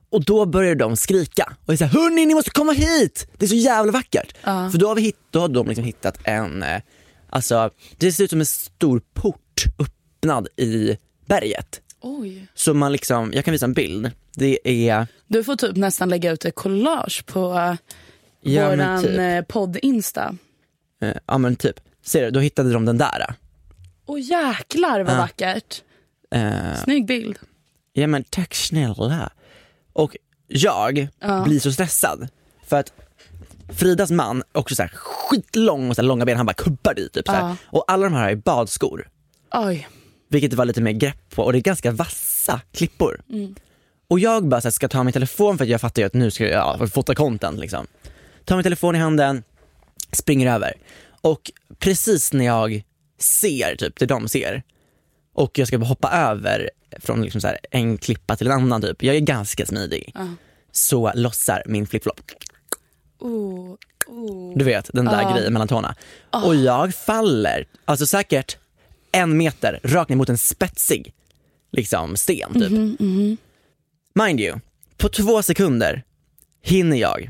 [SPEAKER 1] Och då började de skrika och säga hörni ni måste komma hit, det är så jävla vackert. För då har, vi hitt- då har de liksom hittat en, eh, alltså det ser ut som en stor port öppnad i berget.
[SPEAKER 2] Oj.
[SPEAKER 1] Så man liksom, jag kan visa en bild. Det är,
[SPEAKER 2] Du får typ nästan lägga ut ett collage på eh,
[SPEAKER 1] ja men
[SPEAKER 2] våran
[SPEAKER 1] typ,
[SPEAKER 2] eh, podd-insta.
[SPEAKER 1] eh, ja, men typ. ser du, då hittade de den där.
[SPEAKER 2] Åh jäklar vad vackert.
[SPEAKER 1] Eh,
[SPEAKER 2] Snygg bild.
[SPEAKER 1] Ja men tack snälla. Och jag blir så stressad för att Fridas man är också så här skitlång och så här långa ben, han bara kubbar dit typ så här.
[SPEAKER 2] Ja.
[SPEAKER 1] Och alla de här har ju badskor,
[SPEAKER 2] Oj.
[SPEAKER 1] vilket det var lite mer grepp på och det är ganska vassa klippor. Och jag bara så här, ska ta min telefon för att jag fattar ju att nu ska jag ja, fota content liksom. Tar min telefon i handen, springer över och precis när jag ser typ det de ser och jag ska bara hoppa över från liksom så här en klippa till en annan typ. Jag är ganska smidig. Så lossar min flipflop.
[SPEAKER 2] Oh. Oh.
[SPEAKER 1] Du vet den där grejen mellan tårna. Och jag faller, alltså säkert en meter rakt ner mot en spetsig liksom, sten typ.
[SPEAKER 2] Mhm,
[SPEAKER 1] Mind you, på två sekunder hinner jag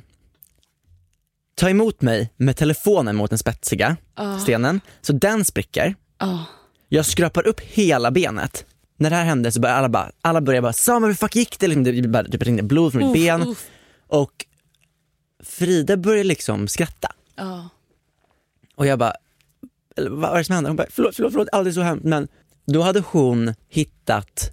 [SPEAKER 1] ta emot mig med telefonen mot den spetsiga stenen. Så den spricker.
[SPEAKER 2] Ja.
[SPEAKER 1] Jag skrapar upp hela benet. När det här hände så började alla bara, alla började bara “Samuel hur fuck gick det?” liksom, Det bara, typ ringde blod från mitt ben.
[SPEAKER 2] Uff,
[SPEAKER 1] Och Frida började liksom skratta.
[SPEAKER 2] Ja.
[SPEAKER 1] Och jag bara, eller vad är det som händer? Hon bara, förlåt, förlåt, förlåt, aldrig så hemskt. Men då hade hon hittat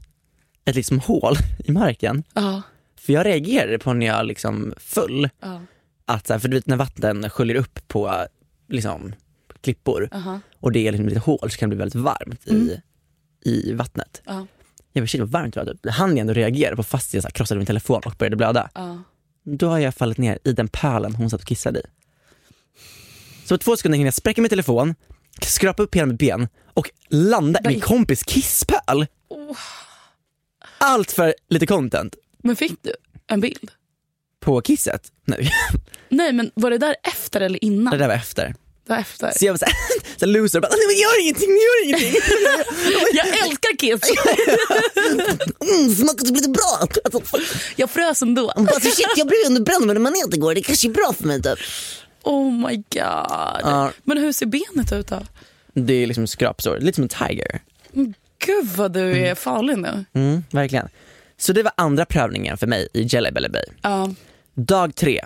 [SPEAKER 1] ett liksom hål i marken.
[SPEAKER 2] Ja.
[SPEAKER 1] För jag reagerade på när jag liksom föll.
[SPEAKER 2] Ja.
[SPEAKER 1] Att, så här, för du vet när vatten sköljer upp på liksom, klippor och det är liksom ett hål så kan det bli väldigt varmt i, i vattnet.
[SPEAKER 2] Mm. Ja.
[SPEAKER 1] Jag bara, shit vad varmt det var. typ. Han ändå reagera på fast jag så här, krossade min telefon och började blöda.
[SPEAKER 2] Ja.
[SPEAKER 1] Då har jag fallit ner i den pölen hon satt och kissade i. Så på två sekunder hinner jag spräcka min telefon, skrapa upp hela mitt ben och landa i min kompis kisspöl. Allt för lite content
[SPEAKER 2] Men fick du en bild?
[SPEAKER 1] på kisset. [laughs] Nej,
[SPEAKER 2] Nej, men var det där efter eller innan?
[SPEAKER 1] det där var efter.
[SPEAKER 2] Det var efter.
[SPEAKER 1] Så jag var såhär, så här [laughs] loser, bara, nej men gör ingenting, gör ingenting.
[SPEAKER 2] [laughs] Jag älskar
[SPEAKER 1] [laughs]
[SPEAKER 2] Kiss!
[SPEAKER 1] Mm, smakar typ lite bra. Alltså,
[SPEAKER 2] Jag frös ändå.
[SPEAKER 1] alltså shit jag blev underbränd med en manet igår, det kanske är bra för mig typ.
[SPEAKER 2] Oh my god.
[SPEAKER 1] Ja.
[SPEAKER 2] Men hur ser benet ut då?
[SPEAKER 1] Det är liksom skrapsår, lite som en tiger.
[SPEAKER 2] Gud vad du är farlig nu.
[SPEAKER 1] Mm, verkligen. Så det var andra prövningen för mig i Jelly Belly Bay.
[SPEAKER 2] Ja.
[SPEAKER 1] Dag tre.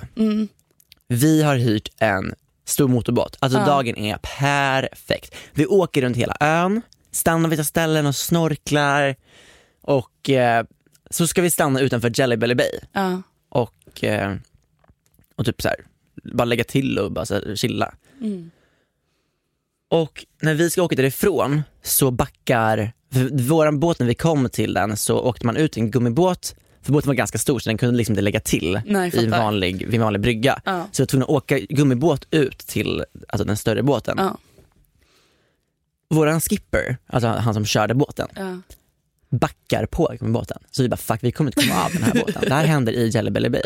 [SPEAKER 1] Vi har hyrt en stor motorbåt. Alltså dagen är perfekt. Vi åker runt hela ön, stannar vid ställen och snorklar. Och eh, så ska vi stanna utanför Jelly Belly Bay
[SPEAKER 2] Ja.
[SPEAKER 1] och, eh, och typ så här, bara lägga till och bara så här, chilla.
[SPEAKER 2] Mm.
[SPEAKER 1] Och när vi ska åka därifrån så backar, för våran båt när vi kom till den så åkte man ut i en gummibåt, för båten var ganska stor så den kunde liksom inte lägga till
[SPEAKER 2] Nej, jag
[SPEAKER 1] i
[SPEAKER 2] fattar.
[SPEAKER 1] vanlig, vid en vanlig brygga.
[SPEAKER 2] Ja.
[SPEAKER 1] Så vi var tvungna att åka gummibåt ut till alltså, den större båten.
[SPEAKER 2] Ja.
[SPEAKER 1] Våran skipper, alltså han som körde båten,
[SPEAKER 2] Ja.
[SPEAKER 1] backar på båten. Så vi bara fuck vi kommer inte komma av den här båten. Det här händer i Jelly Belly Bay.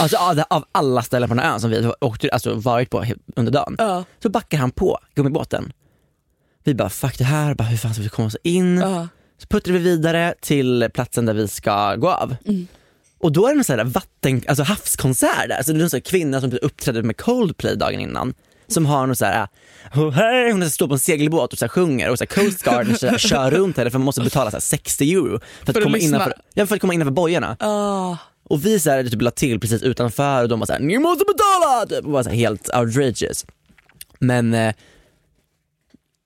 [SPEAKER 1] Alltså av, av alla ställen på den här ön som vi har åkt, alltså, varit på he- under dagen.
[SPEAKER 2] Ja.
[SPEAKER 1] Så backar han på gummibåten. Vi bara fuck det här, bara, hur fan ska vi komma oss in?
[SPEAKER 2] Ja.
[SPEAKER 1] Så puttrar vi vidare till platsen där vi ska gå av. Och då är det en sån här vatten, alltså havskonsert där. Så det är en sån här kvinna som uppträdde med Coldplay dagen innan. Som har någon så här, "Oh, hey", hon står på en segelbåt och så här sjunger och så här Coast Guard så här, kör runt henne för man måste betala så här 60 euro för att,
[SPEAKER 2] att
[SPEAKER 1] komma,
[SPEAKER 2] lyssna.
[SPEAKER 1] innanför, ja, för att komma innanför bojarna.
[SPEAKER 2] Ja.
[SPEAKER 1] Och vi så här, typ la till precis utanför och de var så här, ni måste betala! Typ, och var så här, helt outrageous. Men eh,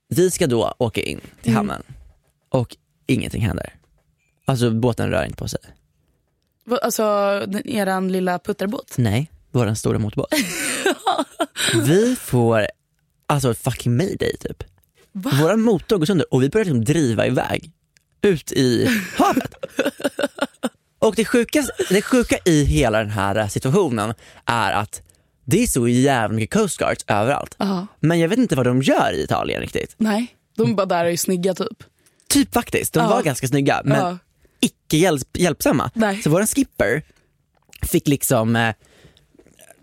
[SPEAKER 1] vi ska då åka in
[SPEAKER 2] Mm.
[SPEAKER 1] till hamnen och ingenting händer. Alltså båten rör inte på sig.
[SPEAKER 2] Va- Alltså, den- eran lilla puttarbåt?
[SPEAKER 1] Nej, våran stora
[SPEAKER 2] [laughs]
[SPEAKER 1] motorbåt. vi får alltså fucking mayday typ.
[SPEAKER 2] Va?
[SPEAKER 1] Våran motor går sönder och vi börjar liksom driva iväg ut i
[SPEAKER 2] [laughs]
[SPEAKER 1] havet. och det sjuka, det sjuka i hela den här situationen är att det är så jävla mycket coast guards överallt.
[SPEAKER 2] Ja.
[SPEAKER 1] Men jag vet inte vad de gör i Italien riktigt.
[SPEAKER 2] Nej. De är bara där och är snygga typ.
[SPEAKER 1] Typ faktiskt, de
[SPEAKER 2] Ja.
[SPEAKER 1] var ganska snygga men
[SPEAKER 2] Ja.
[SPEAKER 1] icke hjälp, hjälpsamma.
[SPEAKER 2] Nej.
[SPEAKER 1] Så våran skipper fick liksom eh,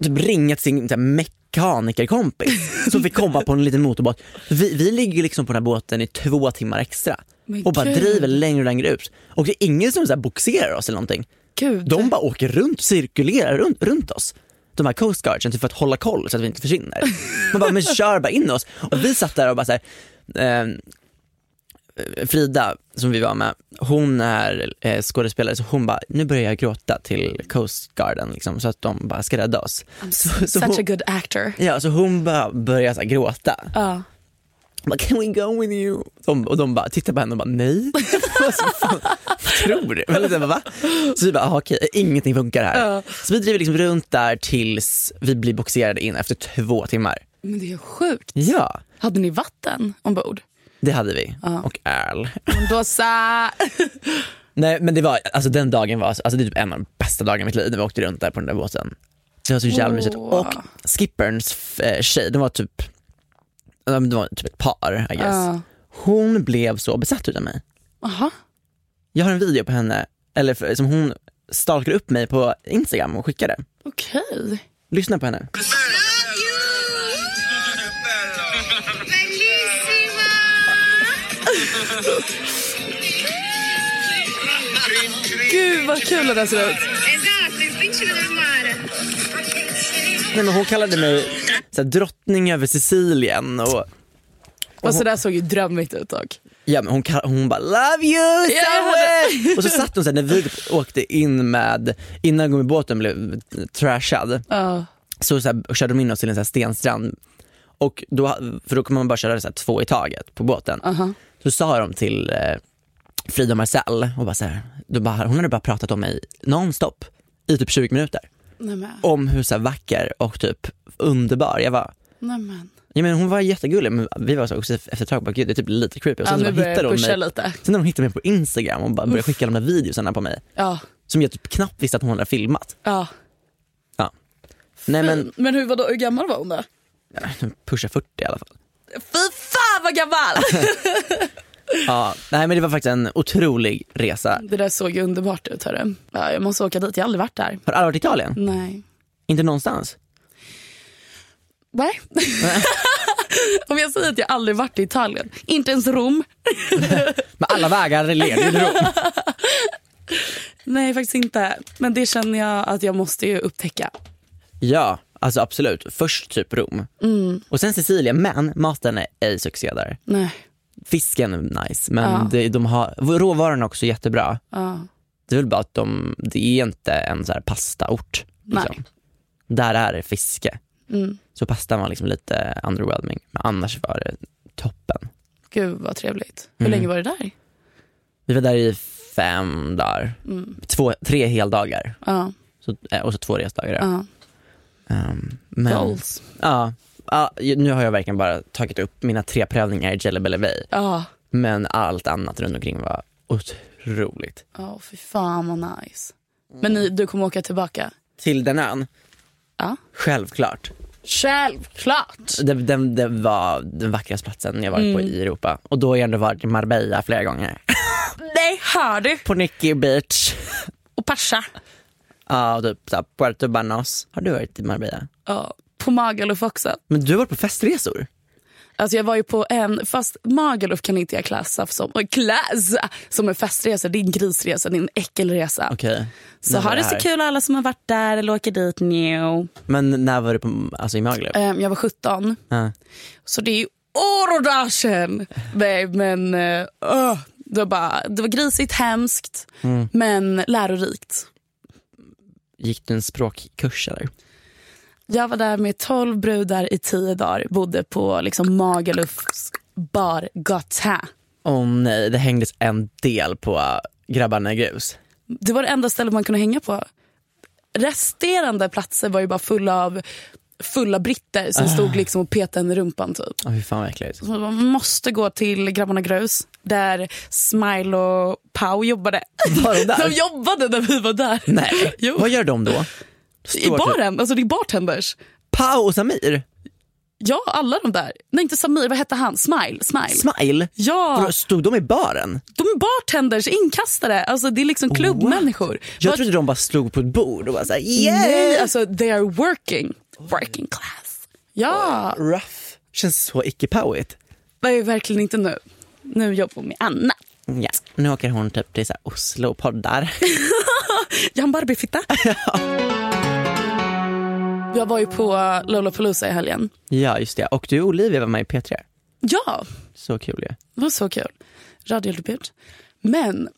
[SPEAKER 1] typ ringa till sin så här,
[SPEAKER 2] [laughs]
[SPEAKER 1] mekanikerkompis som fick komma på en liten motorbåt. Vi, vi ligger liksom på den här båten i två timmar extra
[SPEAKER 2] Men
[SPEAKER 1] och bara
[SPEAKER 2] gud.
[SPEAKER 1] driver längre och längre ut. Och det är ingen som så här, boxerar oss eller någonting.
[SPEAKER 2] Gud.
[SPEAKER 1] De bara åker runt, cirkulerar runt, runt oss. De här coast guardsen typ för att hålla koll så att vi inte försvinner. Man bara, men kör bara in oss. Och vi satt där och bara så här, eh, Frida som vi var med, hon är eh, skådespelare så hon bara, nu börjar jag gråta till coast guarden liksom, så att de bara ska rädda oss. Så, så
[SPEAKER 2] Such a
[SPEAKER 1] hon,
[SPEAKER 2] good actor.
[SPEAKER 1] ja, så hon bara börjar så här, gråta.
[SPEAKER 2] Ja.
[SPEAKER 1] Bara, can we go with you? De, och de bara tittar på henne och bara nej. [laughs] Vad fan tror du? Men liksom, bara, va? Så vi bara, ah, okej, ingenting funkar här. Så vi driver liksom runt där tills vi blir boxerade in efter två timmar.
[SPEAKER 2] Men det är sjukt.
[SPEAKER 1] Ja,
[SPEAKER 2] Hade ni vatten ombord?
[SPEAKER 1] det hade vi. Och öl.
[SPEAKER 2] Då sa...
[SPEAKER 1] Nej men det var, alltså den dagen var, alltså det är typ en av de bästa dagarna i mitt liv när vi åkte runt där på den där båten. Det var så jävla mysigt.
[SPEAKER 2] Åh.
[SPEAKER 1] Och skipperns eh, tjej, de var typ, ja, men de var typ ett par I guess.
[SPEAKER 2] Ja.
[SPEAKER 1] Hon blev så besatt utav mig.
[SPEAKER 2] Aha.
[SPEAKER 1] Jag har en video på henne, eller för, som hon stalkar upp mig på Instagram och skickade.
[SPEAKER 2] Okej.
[SPEAKER 1] Lyssna på henne.
[SPEAKER 3] Love you. Bellissima.
[SPEAKER 2] Gud vad kul det där ser ut.
[SPEAKER 3] Esatto, il principe del mare.
[SPEAKER 1] Nej, men hon kallade mig så här, drottning över Sicilien och
[SPEAKER 2] Och så där såg ju drömmigt ut dock.
[SPEAKER 1] ja, men hon, kall- hon bara love you
[SPEAKER 2] Ja, alltså- jag [laughs]
[SPEAKER 1] Zoe! Och så satt hon så här, när vi typ åkte in med, innan gummibåten blev trashad,
[SPEAKER 2] Ja.
[SPEAKER 1] så, så här, körde de in oss till en så här, stenstrand. Och då, för då kommer man bara köra så här, två i taget på båten. Så sa de till eh, Frida och Marcel, och bara så här, då bara, hon hade bara pratat om mig nonstop i typ 20 minuter.
[SPEAKER 2] Nej men.
[SPEAKER 1] Om hur så här, vacker och typ underbar jag var.
[SPEAKER 2] Nej men.
[SPEAKER 1] Ja, men hon var jättegullig men vi var så också efter ett tag bara, gud det är typ lite creepy. Och
[SPEAKER 2] Ja,
[SPEAKER 1] sen
[SPEAKER 2] nu
[SPEAKER 1] så bara
[SPEAKER 2] börjar
[SPEAKER 1] hittade
[SPEAKER 2] jag
[SPEAKER 1] hon
[SPEAKER 2] pusha
[SPEAKER 1] mig,
[SPEAKER 2] lite.
[SPEAKER 1] sen när hon hittade mig på Instagram och bara började skicka de där videosarna på mig.
[SPEAKER 2] Ja.
[SPEAKER 1] Som jag typ knappt visste att hon hade filmat.
[SPEAKER 2] ja.
[SPEAKER 1] Ja. Nej men,
[SPEAKER 2] Men hur, vadå, hur gammal var hon då?
[SPEAKER 1] pusha 40 i alla fall.
[SPEAKER 2] Fy fan vad gammal!
[SPEAKER 1] Ja, nej men det var faktiskt en otrolig resa.
[SPEAKER 2] [laughs] det där såg ju underbart ut hörru. Ja, jag måste åka dit, jag har aldrig varit där.
[SPEAKER 1] Har du aldrig varit i Italien?
[SPEAKER 2] Nej.
[SPEAKER 1] Inte någonstans?
[SPEAKER 2] Nej. [laughs] Om jag säger att jag aldrig varit i Italien, inte ens Rom.
[SPEAKER 1] Men alla vägar leder till
[SPEAKER 2] [laughs]
[SPEAKER 1] Rom.
[SPEAKER 2] Nej faktiskt inte. Men det känner jag att jag måste ju upptäcka.
[SPEAKER 1] Ja, alltså absolut. Först typ Rom.
[SPEAKER 2] Mm.
[SPEAKER 1] Och sen Sicilien, men maten är ej succé där.
[SPEAKER 2] Nej.
[SPEAKER 1] Fisken är nice, men det, de har, råvarorna är också jättebra. Det är väl bara att de, det är inte en så här pastaort. liksom.
[SPEAKER 2] Nej. Mm.
[SPEAKER 1] Där är det fiske. Så pastan var liksom lite underwhelming, men annars var det toppen.
[SPEAKER 2] Gud vad trevligt. Hur länge var det där?
[SPEAKER 1] Vi var där i fem dagar, två, tre heldagar
[SPEAKER 2] Mm. Ja.
[SPEAKER 1] så, eh, och så två resdagar.
[SPEAKER 2] Ja.
[SPEAKER 1] Ehm, men,
[SPEAKER 2] Goals.
[SPEAKER 1] Ja, ja, nu har jag verkligen bara tagit upp mina tre prövningar i Jelly Belly Bay.
[SPEAKER 2] Ja.
[SPEAKER 1] Men allt annat runt omkring var otroligt.
[SPEAKER 2] Ja, fy fan vad nice. Men ni, du kommer åka tillbaka?
[SPEAKER 1] Till den ön?
[SPEAKER 2] Ja.
[SPEAKER 1] Självklart.
[SPEAKER 2] Självklart!
[SPEAKER 1] Det, det, det var den vackraste platsen jag varit på i Europa. Och då har jag ändå varit i Marbella flera gånger.
[SPEAKER 2] Nej, hör du?
[SPEAKER 1] [laughs] På Nicky Beach.
[SPEAKER 2] Och Pascha.
[SPEAKER 1] Ja, och typ så här, Puerto Banos. Har du varit i Marbella?
[SPEAKER 2] Ja, på Magaluf också.
[SPEAKER 1] Men du har varit på festresor.
[SPEAKER 2] Alltså jag var ju på en, fast Magaluf kan inte jag klassa som, och klassa som en festresa. Det är en grisresa, det är en äckelresa.
[SPEAKER 1] Okej.
[SPEAKER 2] Så
[SPEAKER 1] när var
[SPEAKER 2] ha det så
[SPEAKER 1] här?
[SPEAKER 2] kul alla som har varit där eller åker dit nu.
[SPEAKER 1] Men när var du på, alltså i Magaluf?
[SPEAKER 2] Ehm, Jag var 17,
[SPEAKER 1] Ja.
[SPEAKER 2] så det är ju år och dagar sedan. Nej, men eh, öh, det, var bara, det var grisigt, hemskt, men lärorikt.
[SPEAKER 1] Gick du en språkkurs eller?
[SPEAKER 2] Jag var där med 12 brudar i 10 dagar. Bodde på liksom Magalufs bar Gotha.
[SPEAKER 1] Åh nej, det hängdes en del på äh, grabbarna i grus.
[SPEAKER 2] Det var det enda stället man kunde hänga på. Resterande platser var ju bara fulla av fulla britter
[SPEAKER 1] Ah.
[SPEAKER 2] som stod liksom och petade en i rumpan. Typ.
[SPEAKER 1] Oh, hur fan vad äckligt.
[SPEAKER 2] Så Man måste gå till Grabbarna Grus där Smile och Pau jobbade.
[SPEAKER 1] [laughs] Var de där?
[SPEAKER 2] De jobbade när vi var där.
[SPEAKER 1] Nej,
[SPEAKER 2] Jo.
[SPEAKER 1] vad gör de då?
[SPEAKER 2] I
[SPEAKER 1] typ-
[SPEAKER 2] baren, alltså det är bartenders.
[SPEAKER 1] Pau och Samir?
[SPEAKER 2] Ja, alla de där. Nej, inte Samir. Vad hette han? Smile. Smile.
[SPEAKER 1] Smile?
[SPEAKER 2] Ja.
[SPEAKER 1] Vadå, Stod de i baren?
[SPEAKER 2] de är bartenders, inkastare. Alltså, det är liksom klubbmänniskor.
[SPEAKER 1] Jag
[SPEAKER 2] Vad-
[SPEAKER 1] trodde de bara slog på ett bord och bara såhär yeah!
[SPEAKER 2] Nej, alltså they are working. Working class. Ja,
[SPEAKER 1] Rough. Känns så icke-powigt.
[SPEAKER 2] det är verkligen inte nu. Nu jobbar vi med annat.
[SPEAKER 1] Ja, nu åker hon typ till så här Oslo och poddar.
[SPEAKER 2] Jag har en barbiefitta. Jag var ju på Lollapalooza i helgen.
[SPEAKER 1] [laughs] ja, just det. Och du Olivia var med i P3.
[SPEAKER 2] Ja,
[SPEAKER 1] Så kul ju.
[SPEAKER 2] Det var så kul. Radiodebut. Men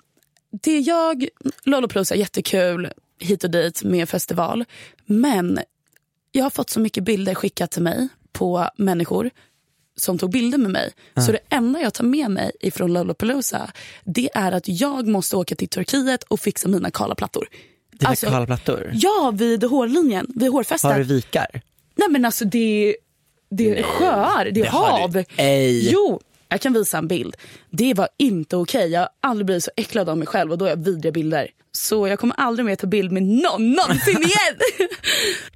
[SPEAKER 2] det jag... Lollapalooza är jättekul hit och dit med festival. Men jag har fått så mycket bilder skickat till mig på människor som tog bilder med mig. Så det enda jag tar med mig ifrån Lollapalooza det är att jag måste åka till Turkiet och fixa mina kala plattor.
[SPEAKER 1] Dina
[SPEAKER 2] Alltså-
[SPEAKER 1] kala plattor.
[SPEAKER 2] Ja, vid hårlinjen, vid hårfästet.
[SPEAKER 1] Har du vikar?
[SPEAKER 2] Nej men alltså det är, det är sjöar, det är
[SPEAKER 1] det har
[SPEAKER 2] hav.
[SPEAKER 1] du ej.
[SPEAKER 2] Jo, jag kan visa en bild. Det var inte okej. Jag har aldrig blivit så äcklad av mig själv och då är jag vidriga bilder. Så jag kommer aldrig mer ta bild med
[SPEAKER 1] [laughs]
[SPEAKER 2] någon någonsin igen.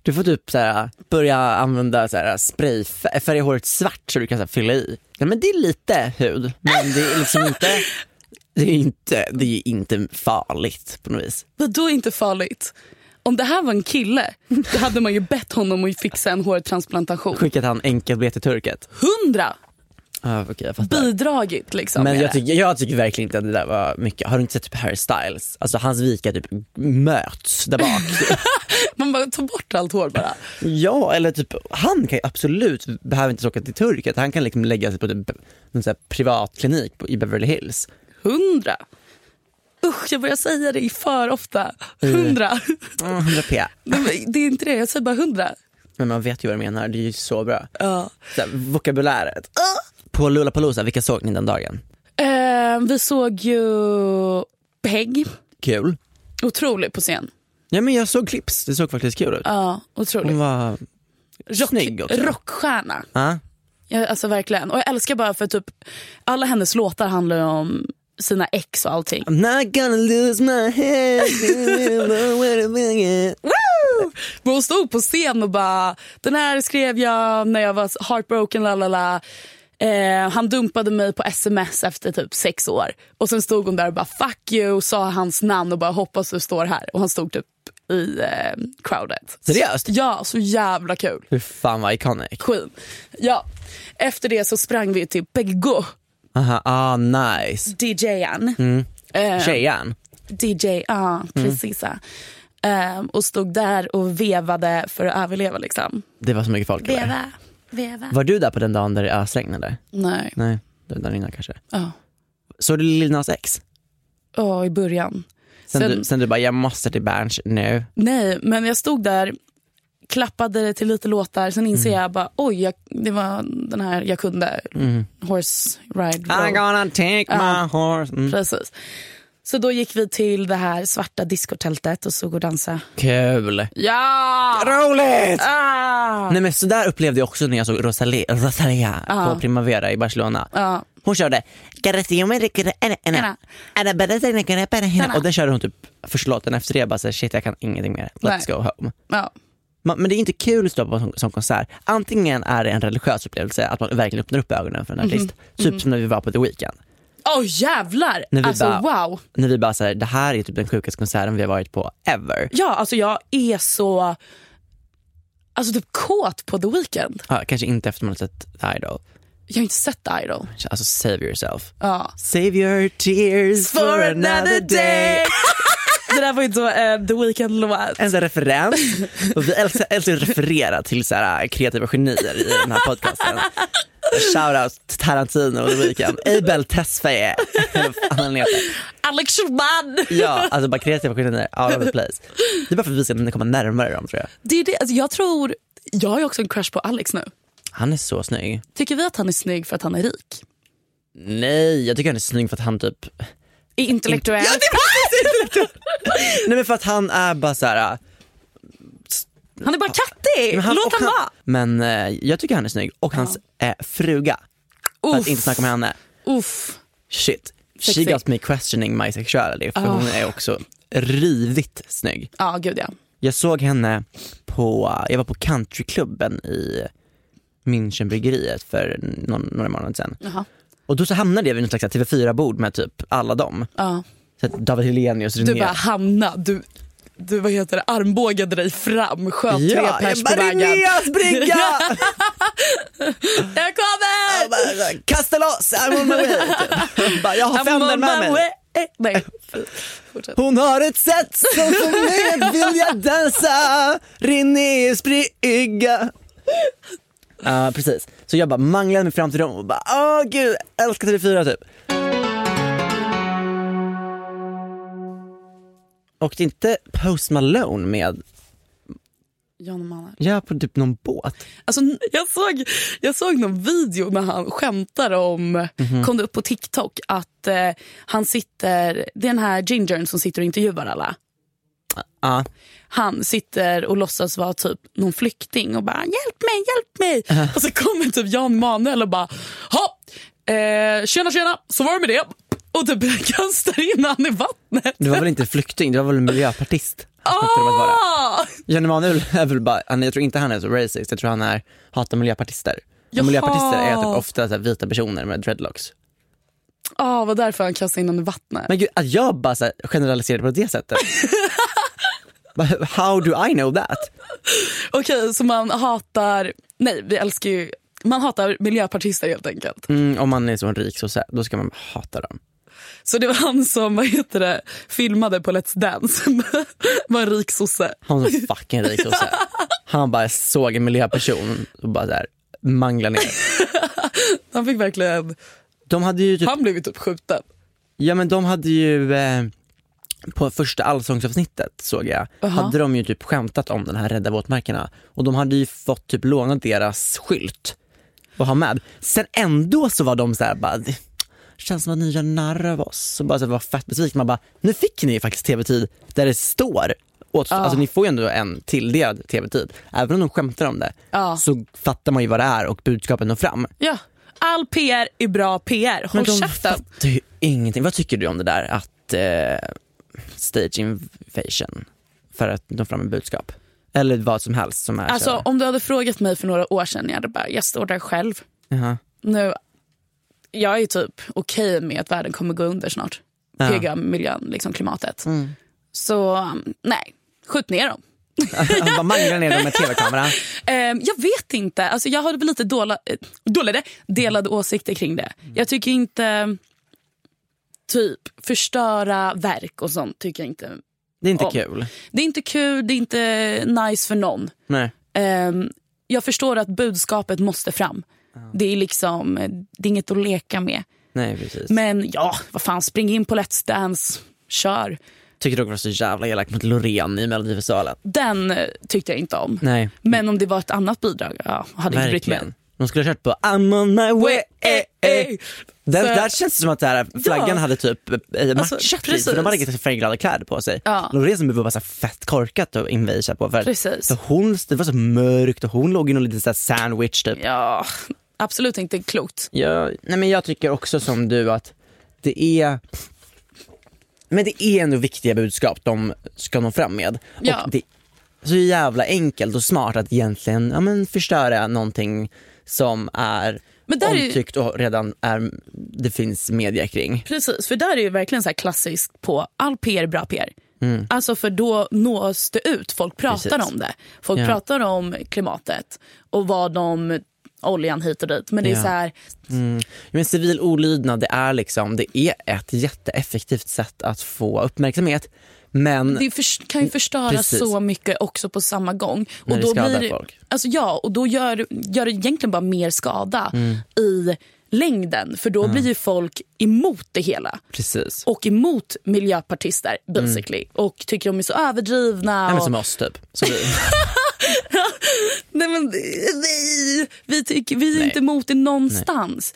[SPEAKER 1] Du får typ så här, börja använda så här, spray, fär- färga håret svart så du kan så här, fylla i. Ja, men det är lite hud, men det är [laughs] liksom inte, det är inte, det är inte farligt på något vis.
[SPEAKER 2] Vadå inte farligt? Om det här var en kille, då hade man ju bett honom att fixa en hårtransplantation.
[SPEAKER 1] Skickat han enkelt B till turket.
[SPEAKER 2] Hundra!
[SPEAKER 1] Ah, okej, jag fattar.
[SPEAKER 2] Bidragit liksom.
[SPEAKER 1] Men
[SPEAKER 2] med
[SPEAKER 1] jag
[SPEAKER 2] det.
[SPEAKER 1] tycker, jag tycker verkligen inte att det där var mycket. Har du inte sett typ Harry Styles? Alltså hans vikar typ möts där
[SPEAKER 2] [laughs]
[SPEAKER 1] bak.
[SPEAKER 2] Man bara tar bort allt hår bara.
[SPEAKER 1] ja, eller typ han kan ju absolut, behöver inte ens åka till turket. Han kan liksom lägga sig på typ, en så här privatklinik på- i Beverly Hills.
[SPEAKER 2] Hundra! Usch, jag börjar säga det för ofta.
[SPEAKER 1] Eh. [laughs]
[SPEAKER 2] Hundra!
[SPEAKER 1] Mm, 100 p.
[SPEAKER 2] Nej, men Det är inte det, jag säger bara hundra.
[SPEAKER 1] Men man vet ju vad jag menar, det är ju så bra.
[SPEAKER 2] Ja.
[SPEAKER 1] Så här, vokabuläret. På Lollapalooza, vilka såg ni den dagen?
[SPEAKER 2] Eh, vi såg ju Peg.
[SPEAKER 1] Kul.
[SPEAKER 2] Otrolig på scen.
[SPEAKER 1] Ja men jag såg clips, det såg faktiskt kul ut.
[SPEAKER 2] Ja, otrolig.
[SPEAKER 1] Hon var
[SPEAKER 2] Rock,
[SPEAKER 1] snygg också.
[SPEAKER 2] rockstjärna.
[SPEAKER 1] Ja.
[SPEAKER 2] Ja, alltså verkligen. Och jag älskar bara för typ alla hennes låtar handlar ju om sina ex och allting.
[SPEAKER 1] I'm not gonna lose my head, you know where to bring it.
[SPEAKER 2] Woo! Men hon stod på scen och bara, den här skrev jag när jag var heartbroken, lalala. Eh, han dumpade mig på sms efter typ sex år. Och sen stod hon där och bara fuck you, sa hans namn och bara hoppas du står här. Och han stod typ i eh, crowdet.
[SPEAKER 1] Seriöst?
[SPEAKER 2] Ja, så jävla kul.
[SPEAKER 1] Hur fan vad iconic.
[SPEAKER 2] Queen. Ja. Efter det så sprang vi till Beggo,
[SPEAKER 1] Aha, ah nice.
[SPEAKER 2] DJ'n.
[SPEAKER 1] Tjejen.
[SPEAKER 2] DJ, ja precis. ja. Ehm, och stod där och vevade för att överleva liksom.
[SPEAKER 1] Det var så mycket folk eller?
[SPEAKER 2] Veva, veva.
[SPEAKER 1] Var du där på den dagen där det ösregnade?
[SPEAKER 2] Nej.
[SPEAKER 1] Nej, det var dagen innan kanske.
[SPEAKER 2] Ja,
[SPEAKER 1] Såg du Lil Nas X?
[SPEAKER 2] Ja, i början.
[SPEAKER 1] Sen,
[SPEAKER 2] Sen-
[SPEAKER 1] du, sen du bara, jag måste till Berns nu.
[SPEAKER 2] Nej, men jag stod där, klappade till lite låtar, sen inser
[SPEAKER 1] Mm.
[SPEAKER 2] jag bara oj, jag, det var den här jag kunde.
[SPEAKER 1] Mm.
[SPEAKER 2] Horse ride.
[SPEAKER 1] I'm
[SPEAKER 2] roll.
[SPEAKER 1] gonna take my horse. Mm.
[SPEAKER 2] Precis. Så då gick vi till det här svarta diskotältet och såg och dansa.
[SPEAKER 1] Kul.
[SPEAKER 2] Ja!
[SPEAKER 1] Roligt!
[SPEAKER 2] Ah!
[SPEAKER 1] Nej men så där upplevde jag också när jag såg Rosalie, Rosalia på Primavera i Barcelona. Hon körde "Grazie mille, cara, era, era.
[SPEAKER 2] Era.
[SPEAKER 1] Era, bara, sena, cara, bara, hena."
[SPEAKER 2] Sena.
[SPEAKER 1] och där körde hon typ första låten efter det bara såhär shit jag kan ingenting mer, let's
[SPEAKER 2] Nej.
[SPEAKER 1] go home.
[SPEAKER 2] Ja.
[SPEAKER 1] Man, men det är inte kul att stå på en sån, sån konsert. Antingen är det en religiös upplevelse, att man verkligen öppnar upp ögonen för en artist. Typ som när vi var på The Weeknd.
[SPEAKER 2] Åh jävlar!
[SPEAKER 1] När vi
[SPEAKER 2] Alltså
[SPEAKER 1] bara-
[SPEAKER 2] wow.
[SPEAKER 1] När vi bara såhär, det här är typ den sjukaste konserten vi har varit på ever.
[SPEAKER 2] Ja, alltså jag är så alltså typ kåt på The Weeknd.
[SPEAKER 1] Ja, kanske inte efter man har sett Idol.
[SPEAKER 2] Jag har inte sett Idol.
[SPEAKER 1] Alltså save yourself.
[SPEAKER 2] Ja.
[SPEAKER 1] Save your tears for another day.
[SPEAKER 2] [laughs] det där var ju inte eh, The Weeknd-låt.
[SPEAKER 1] En sån här referens. Och vi älskar, älskar att referera till så här äh, kreativa genier i den här podcasten. Shoutout till Tarantino och The Weeknd. Abel Tesfaye. Eller vad fan han heter.
[SPEAKER 2] Alex Schulman!
[SPEAKER 1] Ja, alltså bara kreativa genier all over the place. Det är bara för att vi ska komma närmare dem tror jag.
[SPEAKER 2] Det är det, alltså jag tror, jag har ju också en crush på Alex nu.
[SPEAKER 1] Han är så snygg.
[SPEAKER 2] Tycker vi att han är snygg för att han är rik?
[SPEAKER 1] Nej, jag tycker han är snygg för att han typ...
[SPEAKER 2] Är intellektuell?
[SPEAKER 1] Nej men för att han är bara så här... äh,
[SPEAKER 2] han är bara kattig!
[SPEAKER 1] Men
[SPEAKER 2] Låt
[SPEAKER 1] och
[SPEAKER 2] han vara!
[SPEAKER 1] Men eh, jag tycker han är snygg. Och hans eh, fruga. För att
[SPEAKER 2] Uff.
[SPEAKER 1] inte snacka om henne.
[SPEAKER 2] Uff.
[SPEAKER 1] Shit. She
[SPEAKER 2] Sexy. Ah.
[SPEAKER 1] got me questioning my sexuality. För hon är också rivigt snygg.
[SPEAKER 2] Ja, gud ja.
[SPEAKER 1] Jag såg henne på, jag var på countryklubben i Münchenbryggeriet för någon, några månader sedan.
[SPEAKER 2] Jaha.
[SPEAKER 1] Och då så hamnade jag vid något slags TV4-bord med typ alla dem.
[SPEAKER 2] Ja.
[SPEAKER 1] Så att David Hellenius,
[SPEAKER 2] Du
[SPEAKER 1] René.
[SPEAKER 2] bara, Hanna, du, du vad heter det, armbågade dig fram, sköt
[SPEAKER 1] ja,
[SPEAKER 2] tre pers
[SPEAKER 1] jag
[SPEAKER 2] på
[SPEAKER 1] bara,
[SPEAKER 2] vägen.
[SPEAKER 1] Renéas
[SPEAKER 2] [laughs]
[SPEAKER 1] brygga! [laughs]
[SPEAKER 2] Jag kommer!
[SPEAKER 1] Jag bara, Kasta loss, I'm on
[SPEAKER 2] [laughs]
[SPEAKER 1] my way. Typ. Bara, Jag har
[SPEAKER 2] I'm
[SPEAKER 1] femden
[SPEAKER 2] on
[SPEAKER 1] med
[SPEAKER 2] my
[SPEAKER 1] mig.
[SPEAKER 2] way. Eh, Nej, fy. fortsätt.
[SPEAKER 1] Hon har ett sätt som får mig att vilja dansa Renés brygga Ja precis, så jag bara manglade mig fram till dem och bara åh gud, älskar TV4 typ Och det är inte Post Malone med,
[SPEAKER 2] Jan Emanuel.
[SPEAKER 1] jag är på typ någon båt
[SPEAKER 2] Alltså, jag, såg, jag såg någon video när han skämtar om,
[SPEAKER 1] Mhm.
[SPEAKER 2] kom det upp på TikTok, att eh, han sitter, det är den här gingern som sitter och intervjuar alla.
[SPEAKER 1] Ja,
[SPEAKER 2] Han sitter och låtsas vara typ någon flykting och bara “hjälp mig, hjälp mig”. Och så kommer typ Jan Manuel och bara “ha, eh, tjena tjena, så var det med det” och typ [laughs] kastar in han i vattnet.
[SPEAKER 1] det var väl inte flykting, det var väl en miljöpartist han pratade om att vara.
[SPEAKER 2] Ah!
[SPEAKER 1] Jan Emanuel [laughs] är väl bara, han, jag tror inte han är så racist, jag tror han är, hatar miljöpartister. Och miljöpartister är typ ofta så här vita personer med dreadlocks.
[SPEAKER 2] Ah, vad därför han kastade in honom i vattnet.
[SPEAKER 1] Men gud, att jag bara så här generaliserade på det sättet. Bara, How do I know that?
[SPEAKER 2] Okej, så man hatar... Nej, vi älskar ju... Man hatar miljöpartister helt enkelt.
[SPEAKER 1] Mm, om man är så en rik sosse, då ska man hata dem.
[SPEAKER 2] Så det var han som vad heter det, filmade på Let's Dance. [laughs] var en rik sosse.
[SPEAKER 1] Han var så fucking rik sosse. Han bara såg en miljöperson och bara så här, manglade ner.
[SPEAKER 2] Han fick verkligen...
[SPEAKER 1] De hade ju typ
[SPEAKER 2] Han blev ju typ skjuten.
[SPEAKER 1] Ja men de hade ju, eh, på första allsångsavsnittet såg jag, hade de ju typ skämtat om den här Rädda våtmarkerna. Och de hade ju fått typ låna deras skylt och ha med. Sen ändå så var de så här bara, det känns som att ni gör narr av oss. Och bara så här, var fett besviken. Man bara, nu fick ni ju faktiskt tv-tid där det står åt, Alltså ni får ju ändå en tilldelad tv-tid. Även om de skämtar om det så fattar man ju vad det är och budskapen når fram.
[SPEAKER 2] Ja. All PR är bra PR. Håll
[SPEAKER 1] Men de
[SPEAKER 2] käften.
[SPEAKER 1] fattar ju ingenting. Vad tycker du om det där att eh, stage invasion för att nå fram med budskap? Eller vad som helst som är så
[SPEAKER 2] Alltså,
[SPEAKER 1] här-
[SPEAKER 2] om du hade frågat mig för några år sedan, jag hade bara, jag står där själv.
[SPEAKER 1] Jaha.
[SPEAKER 2] Nu, jag är typ okej med att världen kommer gå under snart. PGA, miljön, liksom klimatet. Så um, nej, skjut ner dem.
[SPEAKER 1] Han Alltså, bara manglar ner dem med tv-kamera.
[SPEAKER 2] Ehm, jag vet inte. Alltså, jag har väl lite dola, eh, dolade, delade åsikter kring det. Jag tycker inte... Typ förstöra verk och sånt tycker jag inte.
[SPEAKER 1] Det
[SPEAKER 2] [laughs]
[SPEAKER 1] är inte
[SPEAKER 2] Om.
[SPEAKER 1] kul.
[SPEAKER 2] Det är inte kul, det är inte nice för någon.
[SPEAKER 1] Nej.
[SPEAKER 2] Ehm, jag förstår att budskapet måste fram. Det är liksom, det är inget att leka med.
[SPEAKER 1] Nej precis.
[SPEAKER 2] Men ja, vad fan, spring in på Let's Dance, kör.
[SPEAKER 1] Tycker du också var så jävla elak mot Loreen i Melodifestivalen?
[SPEAKER 2] Den eh, tyckte jag inte om.
[SPEAKER 1] Nej.
[SPEAKER 2] Men om det var ett annat bidrag, ja, hade jag inte brytt mig.
[SPEAKER 1] Verkligen. De skulle ha kört på I'm on my way. Eh, eh. Den,
[SPEAKER 2] Så-
[SPEAKER 1] där känns det som att det här flaggan
[SPEAKER 2] Ja.
[SPEAKER 1] hade typ eh, matchat
[SPEAKER 2] Alltså,
[SPEAKER 1] lite, för de hade
[SPEAKER 2] precis.
[SPEAKER 1] lite färgglada kläder på sig.
[SPEAKER 2] Ja.
[SPEAKER 1] Loreen som var bara så här fett korkat och invasion på. För, att-
[SPEAKER 2] Precis.
[SPEAKER 1] För hon, det var så mörkt och hon låg i någon liten så här sandwich typ.
[SPEAKER 2] Ja, absolut inte klokt.
[SPEAKER 1] Ja, nej men jag tycker också som du att det är men det är ändå viktiga budskap de ska nå fram med.
[SPEAKER 2] Ja.
[SPEAKER 1] Och det är så jävla enkelt och smart att egentligen ja, men förstöra någonting som är
[SPEAKER 2] Men där är ju-
[SPEAKER 1] omtyckt och redan är, det finns media kring.
[SPEAKER 2] Precis, för där är ju verkligen så här klassiskt på all PR är bra PR. Alltså för då nås det ut, folk pratar
[SPEAKER 1] Mm. Precis.
[SPEAKER 2] om det. Folk
[SPEAKER 1] Ja.
[SPEAKER 2] pratar om klimatet och vad de oljan hit och dit. Men det är
[SPEAKER 1] Ja.
[SPEAKER 2] så här,
[SPEAKER 1] Men civil olydnad det är liksom, det är ett jätteeffektivt sätt att få uppmärksamhet. Men
[SPEAKER 2] det först- kan ju förstöra
[SPEAKER 1] Precis.
[SPEAKER 2] så mycket också på samma gång.
[SPEAKER 1] När det skadar
[SPEAKER 2] det-
[SPEAKER 1] folk.
[SPEAKER 2] Alltså ja, och då gör, gör det egentligen bara mer skada
[SPEAKER 1] Mm.
[SPEAKER 2] i längden. För då blir ju folk emot det hela.
[SPEAKER 1] precis,
[SPEAKER 2] Och emot miljöpartister basically. Och tycker de är så överdrivna.
[SPEAKER 1] Mm. Nej, men
[SPEAKER 2] och...
[SPEAKER 1] som oss typ. Som vi.
[SPEAKER 2] Nej, men nej, vi, tycker, vi är inte emot det någonstans.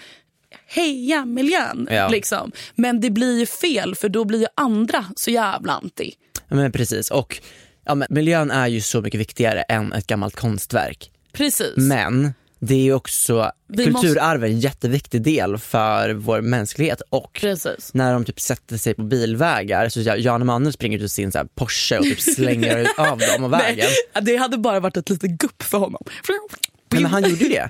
[SPEAKER 2] Heja miljön!
[SPEAKER 1] Ja.
[SPEAKER 2] Liksom. Men det blir ju fel, för då blir ju andra så jävla anti.
[SPEAKER 1] Ja, men precis. Och ja, men miljön är ju så mycket viktigare än ett gammalt konstverk.
[SPEAKER 2] Precis.
[SPEAKER 1] Men det är ju också,
[SPEAKER 2] Vi måste-
[SPEAKER 1] kulturarv är en jätteviktig del för vår mänsklighet och
[SPEAKER 2] Precis.
[SPEAKER 1] när de typ sätter sig på bilvägar så ja- Jan Emanuel springer ut ur sin så här Porsche och typ
[SPEAKER 2] [laughs]
[SPEAKER 1] slänger av dem av vägen.
[SPEAKER 2] Nej, det hade bara varit ett litet gupp för honom.
[SPEAKER 1] Nej, men han gjorde ju det.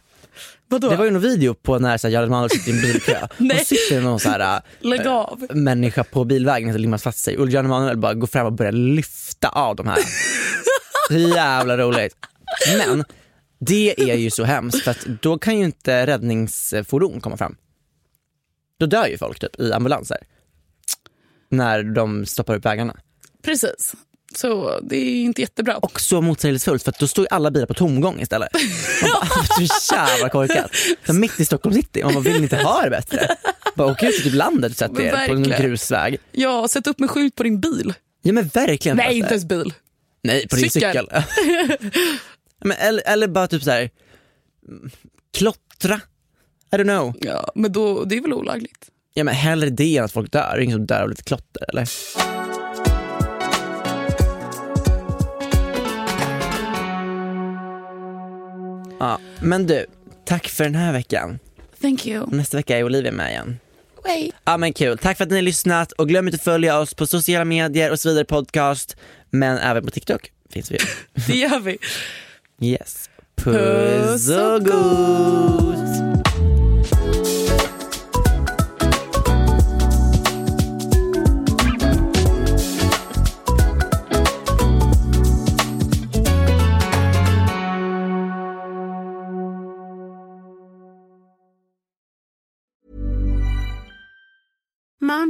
[SPEAKER 2] Vadå?
[SPEAKER 1] Det var ju någon video på när så här, Jared Malmö sitter i en bilkö. Då
[SPEAKER 2] [laughs] Nej.
[SPEAKER 1] sitter någon så här,
[SPEAKER 2] Lägg
[SPEAKER 1] eh,
[SPEAKER 2] av.
[SPEAKER 1] människa på bilvägen och limmar fast sig och Jan Emanuel bara går fram och börjar lyfta av de här. Så jävla roligt. Men det är ju så hemskt för att då kan ju inte räddningsfordon komma fram. Då dör ju folk typ i ambulanser. När de stoppar upp vägarna.
[SPEAKER 2] Precis. Så det är inte jättebra.
[SPEAKER 1] Och så motsägelsefullt för att då står ju alla bilar på tomgång istället. Man bara, så jävla korkat. Så mitt i Stockholm city, man bara, vill ni inte ha det bättre? Bara åk ut till typ landet och sätt
[SPEAKER 2] Men
[SPEAKER 1] er på en
[SPEAKER 2] verkligen.
[SPEAKER 1] grusväg.
[SPEAKER 2] Ja, sätt upp en skylt på din bil.
[SPEAKER 1] Ja men alltså- verkligen.
[SPEAKER 2] Nej,
[SPEAKER 1] Petter.
[SPEAKER 2] inte ens bil.
[SPEAKER 1] Nej, på din cykel. [laughs]
[SPEAKER 2] Cykel.
[SPEAKER 1] men, eller, eller bara typ så här mm, klottra. I don't know.
[SPEAKER 2] Ja, men då, det är väl olagligt?
[SPEAKER 1] Ja, men hellre det än att folk dör. Det är Ingen som dör av lite klotter eller? Ja, men du, tack för den här veckan.
[SPEAKER 2] Thank you.
[SPEAKER 1] Nästa vecka är Olivia med igen.
[SPEAKER 2] Wait.
[SPEAKER 1] Ja men kul, tack för att ni har lyssnat och glöm inte att följa oss på sociala medier och så vidare podcast. Men även på TikTok finns vi.
[SPEAKER 2] Det gör vi.
[SPEAKER 1] Yes. Puss och gos!
[SPEAKER 4] Mom